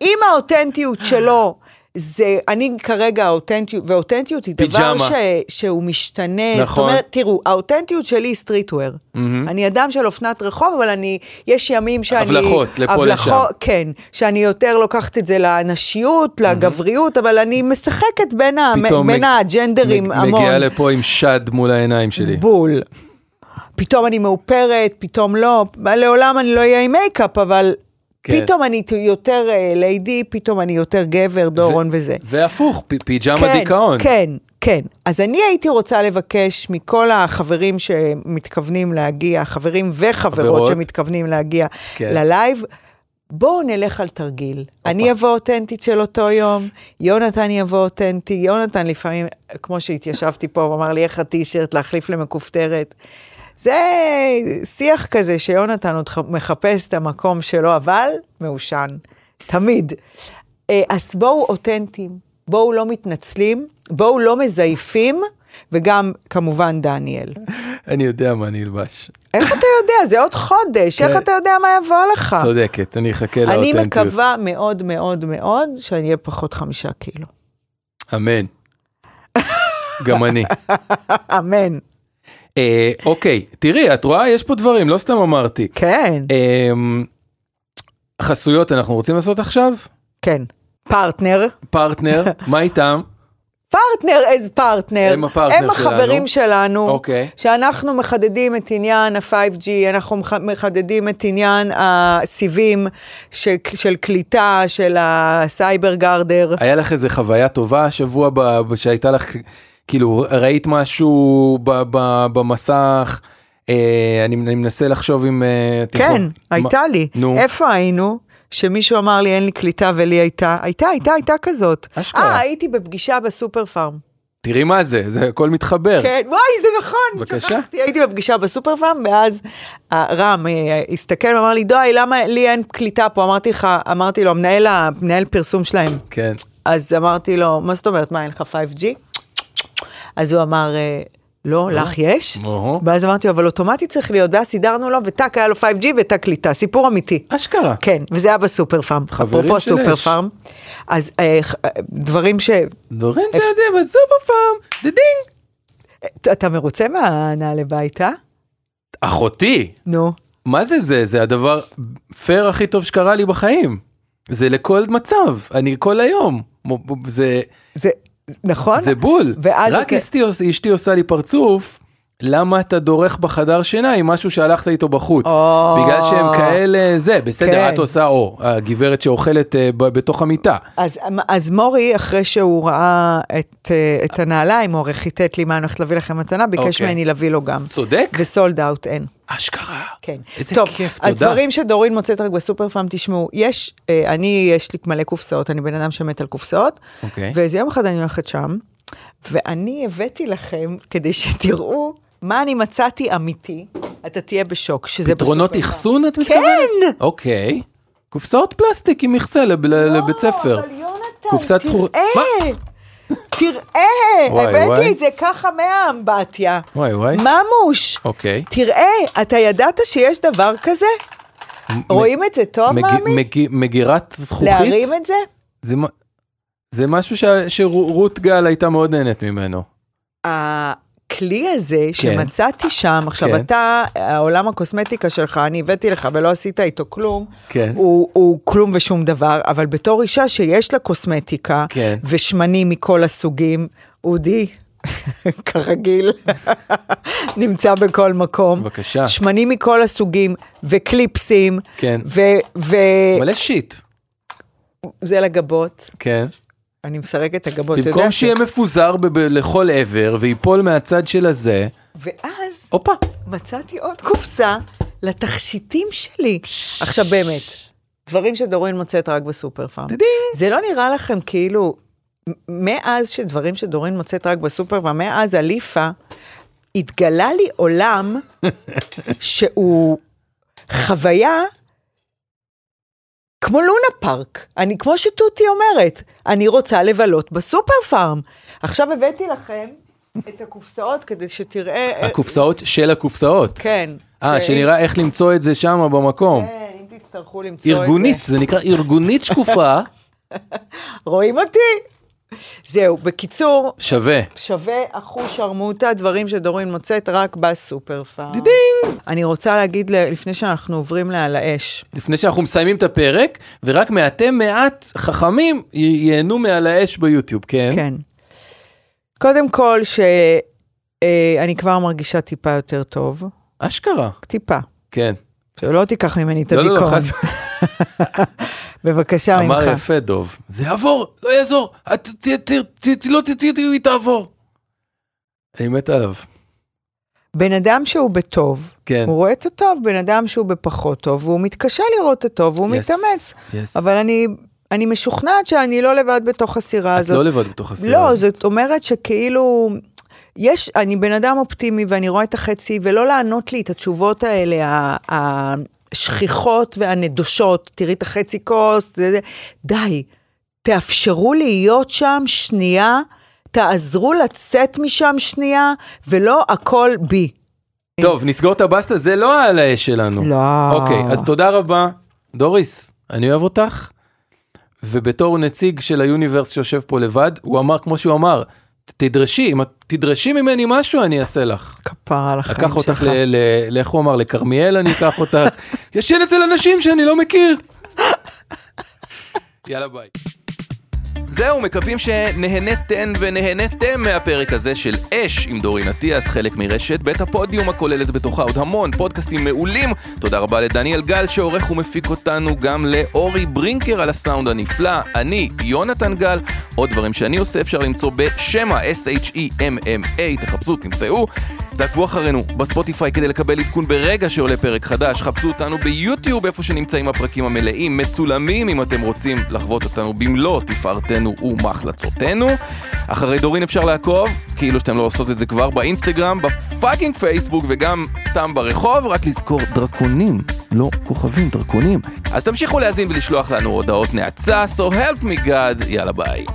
Speaker 2: אם האותנטיות שלו זה, אני כרגע האותנטיות, ואותנטיות היא דבר
Speaker 1: פיג'מה.
Speaker 2: ש, שהוא משתנה. זאת
Speaker 1: נכון.
Speaker 2: אומרת, תראו, האותנטיות שלי היא סטריטוור. Mm-hmm. אני אדם של אופנת רחוב, אבל אני, יש ימים שאני...
Speaker 1: הבלחות, לפה, לשם.
Speaker 2: כן, שאני יותר לוקחת את זה לנשיות, לגבריות, אבל אני משחקת בין, ה,
Speaker 1: פתאום
Speaker 2: בין
Speaker 1: מג-
Speaker 2: הג'נדרים
Speaker 1: מג-
Speaker 2: המון.
Speaker 1: מגיעה לפה עם שד מול העיניים שלי.
Speaker 2: בול. פתאום אני מאופרת, פתאום לא, לעולם אני לא אהיה עם מייקאפ, אבל
Speaker 1: כן.
Speaker 2: כן. פתאום אני ת- יותר אה, ליידי, פתאום אני יותר גבר, דורון ו... וזה.
Speaker 1: והפוך, פ- פיג'מה דיכאון.
Speaker 2: כן, כן. אז אני הייתי רוצה לבקש מכל החברים שמתכוונים להגיע, חברים וחברות
Speaker 1: חברות.
Speaker 2: שמתכוונים להגיע
Speaker 1: כן.
Speaker 2: כן. ללייב, בואו נלך על תרגיל. אני אבוא אותנטית של אותו יום, יונתן יבוא אותנטי, יונתן לפעמים, כמו שהתיישבתי פה, הוא אמר לי, איך הטישרט להחליף למכופתרת. זה שיח כזה שיונתן עוד ח- מחפש את המקום שלו, אבל מעושן, תמיד. אה, אז בואו אותנטיים, בואו לא מתנצלים, בואו לא מזייפים, וגם כמובן דניאל.
Speaker 1: אני יודע מה אני אלבש.
Speaker 2: איך אתה יודע? זה עוד חודש,
Speaker 1: כן.
Speaker 2: איך אתה יודע מה יבוא לך?
Speaker 1: צודקת, אני אחכה
Speaker 2: אה. אני
Speaker 1: לאותנטיות.
Speaker 2: מקווה מאוד מאוד מאוד שאני אהיה פחות חמישה קילו.
Speaker 1: אמן. גם אני.
Speaker 2: אמן.
Speaker 1: אה, אוקיי, תראי, את רואה? יש פה דברים, לא סתם אמרתי.
Speaker 2: כן,
Speaker 1: אה, חסויות אנחנו רוצים לעשות עכשיו?
Speaker 2: כן. פרטנר. [LAUGHS]
Speaker 1: פרטנר, מה איתם?
Speaker 2: פרטנר אז פרטנר.
Speaker 1: הם הפרטנר
Speaker 2: הם החברים שלנו.
Speaker 1: אוקיי.
Speaker 2: שאנחנו מחדדים את עניין ה-5G, אנחנו מח- מחדדים את עניין הסיבים של, של קליטה, של הסייבר גארדר.
Speaker 1: היה לך איזה חוויה טובה השבוע ב- שהייתה לך, כאילו ראית משהו ב- ב- במסך, אה, אני אני מנסה לחשוב אם... אה, את
Speaker 2: כן,
Speaker 1: יכול-
Speaker 2: הייתה לי.
Speaker 1: נו.
Speaker 2: איפה היינו? שמישהו אמר לי אין לי קליטה ולי הייתה. הייתה, הייתה, הייתה כזאת.
Speaker 1: אשכרה.
Speaker 2: אה, הייתי בפגישה בסופר פארם.
Speaker 1: תראי מה זה, זה הכל מתחבר.
Speaker 2: כן, וואי, זה נכון.
Speaker 1: בבקשה.
Speaker 2: שכחתי, הייתי בפגישה בסופר פארם, ואז אה, רם אה, הסתכל ואמר לי, דוי, למה לי אין קליטה פה? אמרתי לך, אמרתי לו, מנהל ה- מנהל פרסום שלהם.
Speaker 1: כן.
Speaker 2: אז אמרתי לו, מה זאת אומרת, מה, אין לך 5G? אז הוא אמר, אה, לא, לך יש?
Speaker 1: אוהו.
Speaker 2: ואז אמרתי, אבל אוטומטית צריך להיות, ואז סידרנו לו, וטאק, היה לו 5G וטאק קליטה, סיפור אמיתי.
Speaker 1: אשכרה.
Speaker 2: כן, וזה היה בסופר פארם,
Speaker 1: חברים
Speaker 2: אפרופו
Speaker 1: של
Speaker 2: סופר
Speaker 1: אש.
Speaker 2: פארם. אז אה, ח- אה, דברים ש...
Speaker 1: דברים שיודעים, אבל זה בפעם, זה דינג.
Speaker 2: אתה מרוצה מהנעלי בית, אה?
Speaker 1: אחותי,
Speaker 2: נו.
Speaker 1: מה זה זה? זה הדבר פייר הכי טוב שקרה לי בחיים. זה לכל מצב, אני כל היום. מ- מ- זה,
Speaker 2: זה, נכון?
Speaker 1: זה בול.
Speaker 2: ואז אוקיי.
Speaker 1: רק
Speaker 2: אתה-
Speaker 1: אשתי, עוש- אשתי עושה לי פרצוף, למה אתה דורך בחדר שינה עם משהו שהלכת איתו בחוץ?
Speaker 2: או.
Speaker 1: בגלל שהם כאלה, זה, בסדר,
Speaker 2: כן.
Speaker 1: את עושה, או, הגברת שאוכלת אה, ב- בתוך המיטה.
Speaker 2: אז, אז מורי, אחרי שהוא ראה את, אה, את הנעליים, הוא הרי חיטט לי מה אני הולכת להביא לכם מתנה, ביקש
Speaker 1: אוקיי.
Speaker 2: ממני להביא לו גם.
Speaker 1: צודק?
Speaker 2: וסולד אאוט אין.
Speaker 1: אשכרה.
Speaker 2: כן.
Speaker 1: איזה
Speaker 2: טוב,
Speaker 1: כיף,
Speaker 2: אז
Speaker 1: תודה.
Speaker 2: דברים שדורין מוצאת רק בסופר פארם, תשמעו, יש, אה, אני, יש לי מלא קופסאות, אני בן אדם שמת על קופסאות,
Speaker 1: אוקיי.
Speaker 2: ואיזה יום אחד אני הולכת שם, ואני הבאתי לכם, כדי שתראו מה אני מצאתי אמיתי, אתה תהיה בשוק, שזה
Speaker 1: פתרונות
Speaker 2: בסופר פארם.
Speaker 1: אחסון את מתכוונת?
Speaker 2: כן!
Speaker 1: אוקיי. קופסאות פלסטיק עם מכסה לב- ל- לבית ספר.
Speaker 2: לא, אבל יונתן,
Speaker 1: אה, קופסת זכור-
Speaker 2: תראה, תראה,
Speaker 1: וואי, וואי.
Speaker 2: הבאתי את זה ככה מהאמבטיה.
Speaker 1: וואי וואי.
Speaker 2: ממוש.
Speaker 1: אוקיי.
Speaker 2: תראה, אתה ידעת שיש דבר כזה? רואים את זה טוב,
Speaker 1: מג-
Speaker 2: מאמי?
Speaker 1: מג- מגירת זכוכית?
Speaker 2: לא להרים את זה?
Speaker 1: זה מה- זה משהו שה- שרות גל הייתה מאוד נהנית ממנו.
Speaker 2: הכלי הזה שמצאתי שם,
Speaker 1: כן.
Speaker 2: עכשיו אתה, העולם הקוסמטיקה שלך, אני הבאתי לך ולא עשית איתו כלום,
Speaker 1: כן.
Speaker 2: הוא, הוא כלום ושום דבר, אבל בתור אישה שיש לה קוסמטיקה,
Speaker 1: כן.
Speaker 2: ושמנים מכל הסוגים, אודי, [LAUGHS] כרגיל, [LAUGHS] נמצא בכל מקום.
Speaker 1: בבקשה.
Speaker 2: שמנים מכל הסוגים, וקליפסים,
Speaker 1: כן.
Speaker 2: וזה
Speaker 1: מלא שיט.
Speaker 2: לגבות,
Speaker 1: כן.
Speaker 2: אני מסרגת את הגבות, אתה יודע
Speaker 1: במקום
Speaker 2: ש-
Speaker 1: שיהיה מפוזר ב- ב- לכל עבר ויפול מהצד של הזה,
Speaker 2: ואז
Speaker 1: הופה.
Speaker 2: מצאתי עוד קופסה לתכשיטים שלי. עכשיו באמת, דברים שדורין מוצאת רק בסופר פארם. זה לא נראה לכם כאילו, מ- מאז שדברים שדורין מוצאת רק בסופר פארם, מאז אליפה, התגלה לי עולם שהוא חוויה כמו לונה פארק. אני, כמו שטותי אומרת, אני רוצה לבלות בסופר פארם. עכשיו הבאתי לכם את הקופסאות כדי שתראה...
Speaker 1: הקופסאות של הקופסאות.
Speaker 2: אה, כן.
Speaker 1: אה,
Speaker 2: ש-
Speaker 1: שנראה איך למצוא את זה שם במקום.
Speaker 2: כן, אם תצטרכו למצוא את זה.
Speaker 1: ארגונית, זה נקרא ארגונית שקופה, [LAUGHS]
Speaker 2: רואים אותי? זהו, בקיצור,
Speaker 1: שווה.
Speaker 2: שווה אחוש שרמוטה, דברים שדורין מוצאת רק בסופר פארם.
Speaker 1: דידינג.
Speaker 2: אני רוצה להגיד, ל- לפני שאנחנו עוברים לה על האש,
Speaker 1: לפני שאנחנו מסיימים את הפרק, ורק מעטי מעט חכמים י- ייהנו מעל האש ביוטיוב, כן?
Speaker 2: כן. קודם כל, שאני כבר מרגישה טיפה יותר טוב,
Speaker 1: אשכרה.
Speaker 2: טיפה.
Speaker 1: כן.
Speaker 2: שלא תיקח ממני את
Speaker 1: לא, לא, לא,
Speaker 2: הדיכאון.
Speaker 1: חס... [LAUGHS]
Speaker 2: בבקשה ממך.
Speaker 1: אמר יפה דוב. זה יעבור, לא יעזור. את ת- ת- ת- ת- לא תתהיי, היא תעבור. אני מת עליו.
Speaker 2: בן אדם שהוא בטוב,
Speaker 1: כן.
Speaker 2: הוא רואה את הטוב, בן אדם שהוא בפחות טוב, והוא מתקשה לראות את הטוב, והוא
Speaker 1: Yes,
Speaker 2: מתאמץ.
Speaker 1: yes.
Speaker 2: אבל אני, אני משוכנעת שאני לא לבד בתוך הסירה
Speaker 1: את
Speaker 2: הזאת.
Speaker 1: לא לבד בתוך הסירה.
Speaker 2: לא,
Speaker 1: הזאת.
Speaker 2: זאת אומרת שכאילו, יש, אני בן אדם אופטימי ואני רואה את החצי, ולא לענות לי את התשובות האלה, ה- השכיחות והנדושות, תראי את החצי כוס, זה- זה. די, תאפשרו להיות שם שנייה, תעזרו לצאת משם שנייה, ולא הכל בי.
Speaker 1: טוב, נסגור את הבסטה, זה לא על האש שלנו.
Speaker 2: לא.
Speaker 1: אוקיי, אז תודה רבה. דוריס, אני אוהב אותך, ובתור נציג של היוניברס שיושב פה לבד, הוא אמר כמו שהוא אמר, "ת- תדרשי, אם את תדרשי ממני משהו, אני אעשה לך.
Speaker 2: כפרה על החיים שלך.
Speaker 1: אקח אותך, ל- ל- ל- איך הוא אמר, לכרמיאל אני אקח אותך. ישן אצל אנשים שאני לא מכיר. יאללה ביי. זהו, מקווים שנהנתן ונהנתם מהפרק הזה של אש עם דורין אטיאס, חלק מרשת בית הפודיום הכוללת בתוכה עוד המון פודקאסטים מעולים. תודה רבה לדניאל גל שעורך ומפיק אותנו, גם לאורי ברינקר על הסאונד הנפלא, אני יונתן גל. עוד דברים שאני עושה אפשר למצוא בשמה, E S-H-E-M-M-A, תחפשו, תמצאו. תעקבו אחרינו בספוטיפיי כדי לקבל עדכון ברגע שעולה פרק חדש, חפשו אותנו ביוטיוב איפה שנמצאים הפרקים המלאים, מצולמים אם אתם רוצים לחוות אותנו במלוא תפארתנו ומחלצותינו. אחרי דורין אפשר לעקוב, כאילו שאתם לא עושות את זה כבר, באינסטגרם, בפאקינג פייסבוק וגם סתם ברחוב, רק לזכור דרקונים, לא כוכבים, דרקונים. אז תמשיכו להאזין ולשלוח לנו הודעות נאצה, so help me God, יאללה ביי.